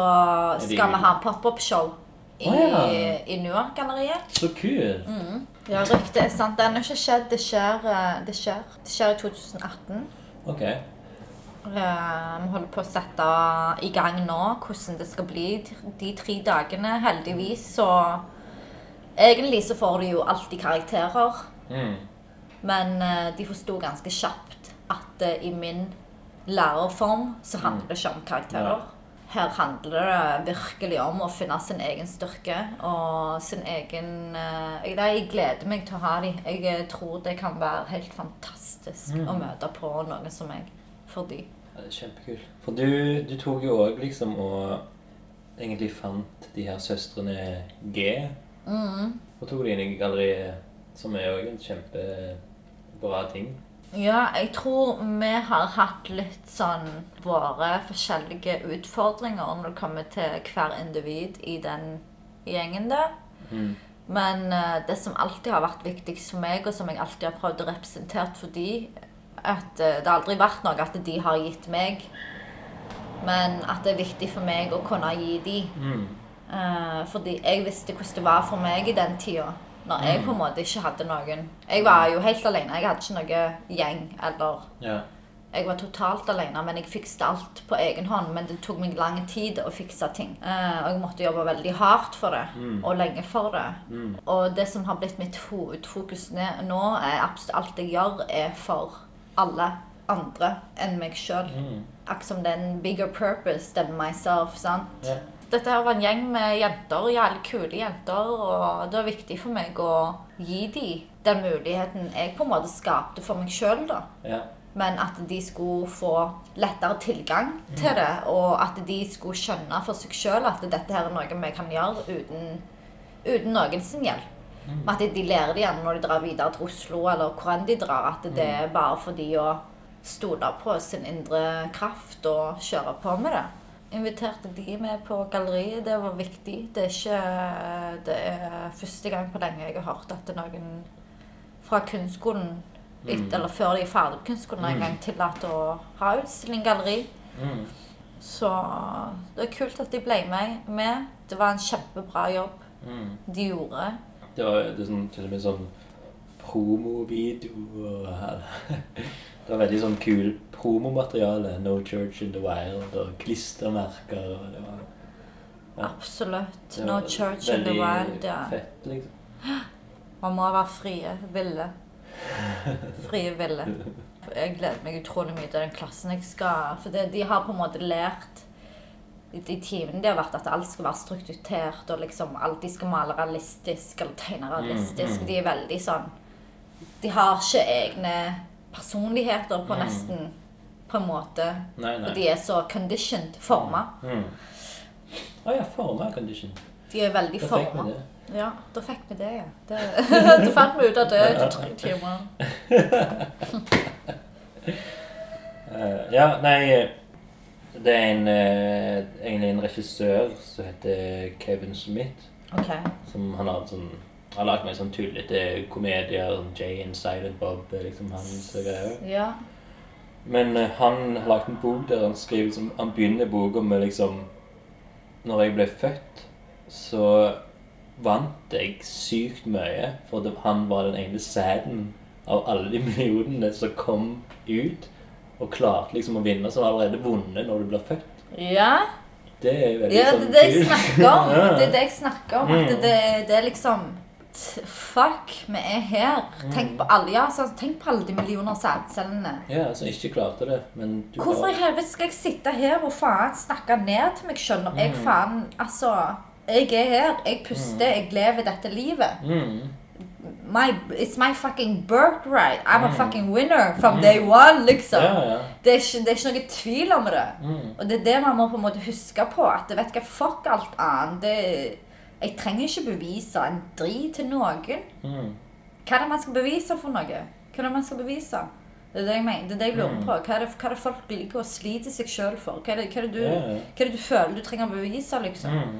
Speaker 1: de
Speaker 2: skal vi ha en pop-up-show i,
Speaker 1: Å, ja.
Speaker 2: i New York-galleriet.
Speaker 1: Så kult.
Speaker 2: Mm. Ja, ryktet er sant. Det har ennå ikke skjedd. Det skjer, eh, det skjer. Det skjer i 2018.
Speaker 1: Ok.
Speaker 2: Eh, Vi holder på å sette i gang nå hvordan det skal bli de- de tre dagene. Heldigvis så Egentlig så får du jo alltid karakterer,
Speaker 1: Mm.
Speaker 2: men eh, de forsto ganske kjapt at eh, i min lærerform så handler det ikke om karakterer. Her handler det virkelig om å finne sin egen styrke og sin egen eh, jeg- nei, Jeg gleder meg til å ha dem. Jeg eh, tror det kan være helt fantastisk å møte på noen som meg. For de.
Speaker 1: Ja, det er Kjempekult. For du, du tok jo òg liksom og egentlig fant de her søstrene G.
Speaker 2: Mm.
Speaker 1: Og tok de inn i galleriet, som er jo en kjempebra ting.
Speaker 2: Ja, jeg tror vi har hatt litt sånn våre forskjellige utfordringer når det kommer til hver individ i den gjengen der. Men eh, det som alltid har vært viktigst for meg, og som jeg alltid har prøvd å representere for de, at eh, det har aldri vært noe at de har gitt meg, men at det er viktig for meg å kunne gi de. Eh, fordi jeg visste hvordan det var for meg i den tida. Når jeg på en måte ikke hadde noen. Jeg var jo helt alene. Jeg hadde ikke noe gjeng. eller...
Speaker 1: Ja.
Speaker 2: Jeg var totalt alene, men jeg fikset alt på egen hånd. Men det tok meg lang tid å fikse ting. Eh, og jeg måtte jobbe veldig hardt for det, og lenge for det. Og det som har blitt mitt hovedfokus ne- nå, er absolutt alt jeg gjør, er for alle andre enn meg sjøl. Akkurat som det er en bigger purpose than myself. sant?
Speaker 1: Ja.
Speaker 2: Dette her var en gjeng med jenter, jævlig kule jenter, og det var viktig for meg å gi dem den muligheten jeg på en måte skapte for meg sjøl, da.
Speaker 1: Ja.
Speaker 2: Men at de skulle få lettere tilgang til det, og at de skulle skjønne for seg sjøl at dette her er noe vi kan gjøre uten, uten noens sin hjelp. At de lærer det gjerne når de drar videre til Oslo, eller hvor enn de drar, at det er bare for de å stole på sin indre kraft og kjøre på med det. Inviterte de med på galleriet, det var viktig. Det er ikke Det er første gang på lenge jeg har hørt at noen fra kunstskolen litt,
Speaker 1: Mm.
Speaker 2: eller før de er ferdig på kunstskolen, en gang tillatt å ha utstilling galleri.
Speaker 1: Mm.
Speaker 2: Så det er kult at de ble med. med. Det var en kjempebra jobb
Speaker 1: Mm.
Speaker 2: de gjorde.
Speaker 1: Det var det er sånn, til og med sånn promovideo og her. Det var veldig sånn kul promomateriale. No Church in the Wild og klistremerker. og Det var, Ja.
Speaker 2: Absolutt.
Speaker 1: det
Speaker 2: No
Speaker 1: var
Speaker 2: church in the
Speaker 1: veldig
Speaker 2: wild. Ja.
Speaker 1: Fett, liksom.
Speaker 2: Man må være frie, ville. Frie, ville. Jeg gleder meg utrolig mye til den klassen jeg skal For det, de har på en måte lært i de timene de har vært, at alt skal være strukturert, og liksom alt de skal male realistisk eller tegne
Speaker 1: Mm,
Speaker 2: realistisk. De er veldig sånn De har ikke egne personligheter på nesten På en måte.
Speaker 1: Mm. Nei,
Speaker 2: Og
Speaker 1: nei.
Speaker 2: de er så conditioned forma.
Speaker 1: Mm. Å ja, forma condition.
Speaker 2: De er veldig
Speaker 1: Da fikk
Speaker 2: forma.
Speaker 1: vi det.
Speaker 2: Ja, da fikk vi det, ja. Det, da fant vi ut at det er ikke tre timer.
Speaker 1: Eh, ja, nei Det er en, eh, egentlig en regissør som heter Kevin Smith.
Speaker 2: Ok.
Speaker 1: Som han har sånn har lagd meg sånn tullete komedier som Jay and Silent Bob. eh, liksom hans greier.
Speaker 2: Ja.
Speaker 1: Men eh, han har lagd en bok der han skriver liksom, Han begynner boka med liksom Når jeg ble født, så vant jeg sykt mye. For det, han var den ene sæden av alle de millionene som kom ut og klarte liksom å vinne, som allerede vunnet når du blir født.
Speaker 2: Ja,
Speaker 1: Det er veldig
Speaker 2: ja det
Speaker 1: sånn
Speaker 2: er det jeg
Speaker 1: kult.
Speaker 2: snakker om.
Speaker 1: Ja. Mm.
Speaker 2: Det er det jeg snakker om. At det, det er liksom t- Fuck, vi er her.
Speaker 1: Mm.
Speaker 2: Tenk på alle, ja, sånn, tenk på alle de millioner sædcellene.
Speaker 1: Ja, som ikke klarte det, men du
Speaker 2: Hvorfor i
Speaker 1: bare-
Speaker 2: helvete skal jeg sitte her og faen snakke ned til meg sjøl når
Speaker 1: Mm.
Speaker 2: jeg faen Altså, jeg er her. Jeg puster. Jeg lever dette livet.
Speaker 1: mm,
Speaker 2: my, it's my fucking birthright. I'm a fucking winner from day one, liksom.
Speaker 1: Mm. Ja, ja.
Speaker 2: Det, er ikke, det er ikke noe tvil om det.
Speaker 1: Mm.
Speaker 2: Og det er det man må på en måte huske på. At vet du hva, fuck alt annet. Det, jeg trenger ikke bevise en drit til noen.
Speaker 1: Mm.
Speaker 2: Hva er det man skal bevise for noe? Hva er det man skal bevise? Det er det jeg mener. Det er det jeg lurer
Speaker 1: Mm.
Speaker 2: på. Hva er det, hva er det folk liker å slite seg sjøl for? Hva er, det, hva, er det du,
Speaker 1: Ja, ja.
Speaker 2: hva er det du føler du trenger å bevise, liksom?
Speaker 1: Mm.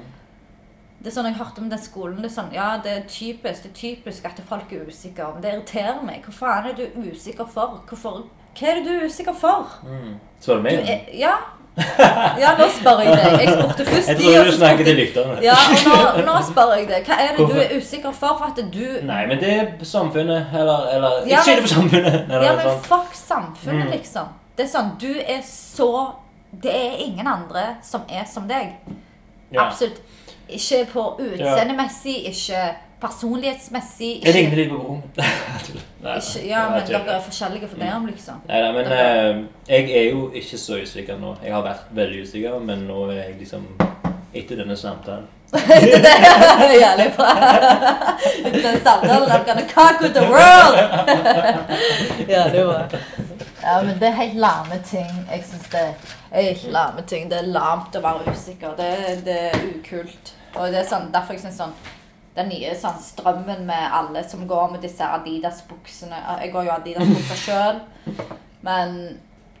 Speaker 2: Det er sånn jeg hørte om den skolen. Det er sånn, ja, det er typisk det er typisk at folk er usikre. Men det irriterer meg. Hva faen er du usikker for? Hvorfor? Hva er det du er usikker for?
Speaker 1: Mm. Så var det
Speaker 2: Du
Speaker 1: meg?
Speaker 2: er, ja. ja, nå spør jeg deg. Jeg spurte først
Speaker 1: Jeg
Speaker 2: de,
Speaker 1: tror
Speaker 2: og
Speaker 1: du
Speaker 2: så
Speaker 1: snakker
Speaker 2: spurte
Speaker 1: til
Speaker 2: jeg-
Speaker 1: lytterne.
Speaker 2: Ja, og nå, nå spør jeg deg. Hva er det du
Speaker 1: Hvorfor?
Speaker 2: er usikker for? For at du
Speaker 1: Nei, men det er samfunnet, eller, eller
Speaker 2: Ja,
Speaker 1: Ikke si
Speaker 2: men-
Speaker 1: det på samfunnet! Nei,
Speaker 2: Ja,
Speaker 1: det er
Speaker 2: men
Speaker 1: sant.
Speaker 2: fuck samfunnet,
Speaker 1: Mm.
Speaker 2: liksom. Det er sånn, du er så Det er ingen andre som er som deg.
Speaker 1: Ja.
Speaker 2: Absolutt. Ikke på utseendemessig, ikke personlighetsmessig.
Speaker 1: Jeg
Speaker 2: Ikke,
Speaker 1: ligner litt på broren. Nei,
Speaker 2: ikke, ja,
Speaker 1: nei,
Speaker 2: men
Speaker 1: jeg
Speaker 2: dere
Speaker 1: vet
Speaker 2: er forskjellige for det om, liksom.
Speaker 1: ikke. Nei, nei, men
Speaker 2: Dere-
Speaker 1: eh, jeg er jo ikke så usikker nå. Jeg har vært veldig usikker, men nå er jeg liksom Etter denne samtalen.
Speaker 2: Det er jævlig bra. Den samtalen I'm gonna cock with the world! jævlig bra. Ja, men det er helt lame ting. Jeg synes det er helt lame ting. Det er lamt å være usikker. Det, det er ukult. Og det er sånn, derfor jeg synes sånn den nye sånn, strømmen med alle som går med disse Adidas-buksene Jeg går jo Adidas-bukser sjøl, men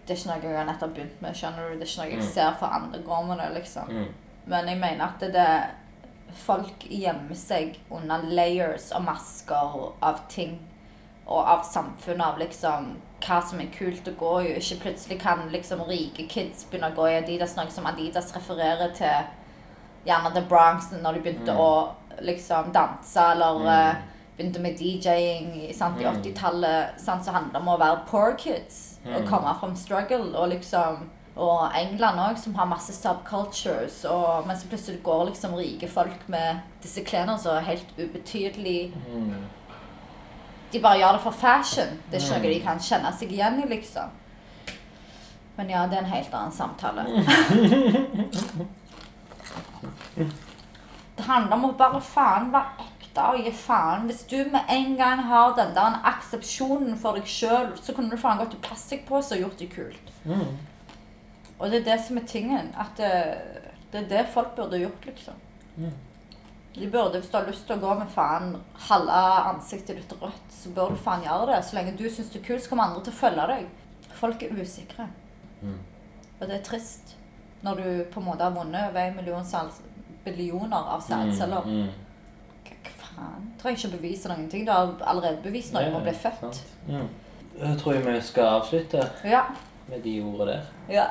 Speaker 2: det er ikke noe jeg har nettopp begynt med. skjønner du? Det er ikke noe jeg ser for andre går med det, liksom.
Speaker 1: Mm.
Speaker 2: Men jeg mener at det, det Folk gjemmer seg under layers og masker av ting. Og av samfunnet, av liksom hva som er kult å gå i. og Ikke plutselig kan liksom rike kids begynne å gå i Adidas, noe som Adidas refererer til gjerne The Bronx når de begynte å liksom danse, eller eh, begynte med DJ-ing i- sant, i 80-tallet, sant, så handler det om å være poor kids, og komme fra struggle, og liksom og England òg, som har masse subcultures. Og, men så plutselig går liksom rike folk med disse klærne som er helt ubetydelig De bare gjør det for fashion. Det er ikke noe de kan kjenne seg igjen i, liksom. Men ja, det er en helt annen samtale. Det handler om å bare faen være ekte. slutte å gi faen. Hvis du med en gang har den der aksepsjonen for deg sjøl, så kunne du faen gått i plastikkpose og gjort det kult. Og det er det som er tingen. At det, det er det folk burde gjort, liksom. De burde, Hvis du har lyst til å gå med faen halve ansiktet ditt rødt, så bør du faen gjøre det. Så lenge du syns det er kult, så kommer andre til å følge deg. Folk er usikre. Og det er trist når du på en måte har vunnet over en million salgs, billioner av salgsceller.
Speaker 1: Mm,
Speaker 2: Hva hva faen? Trenger ikke å bevise noen ting. Du har allerede bevist noe om å bli
Speaker 1: Ja,
Speaker 2: født.
Speaker 1: sant. Mm. Jeg tror vi skal avslutte
Speaker 2: Ja.
Speaker 1: med de ordene der.
Speaker 2: ja.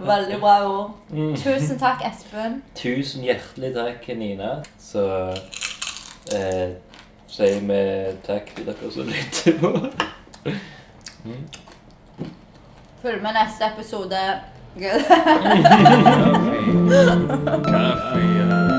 Speaker 2: Veldig bra ord.
Speaker 1: Mm.
Speaker 2: Tusen takk, Espen.
Speaker 1: Tusen hjertelig takk, Nina. Så eh, sier vi takk til dere som lytter på.
Speaker 2: Følg med neste episode. Gud.
Speaker 3: Kaffeine.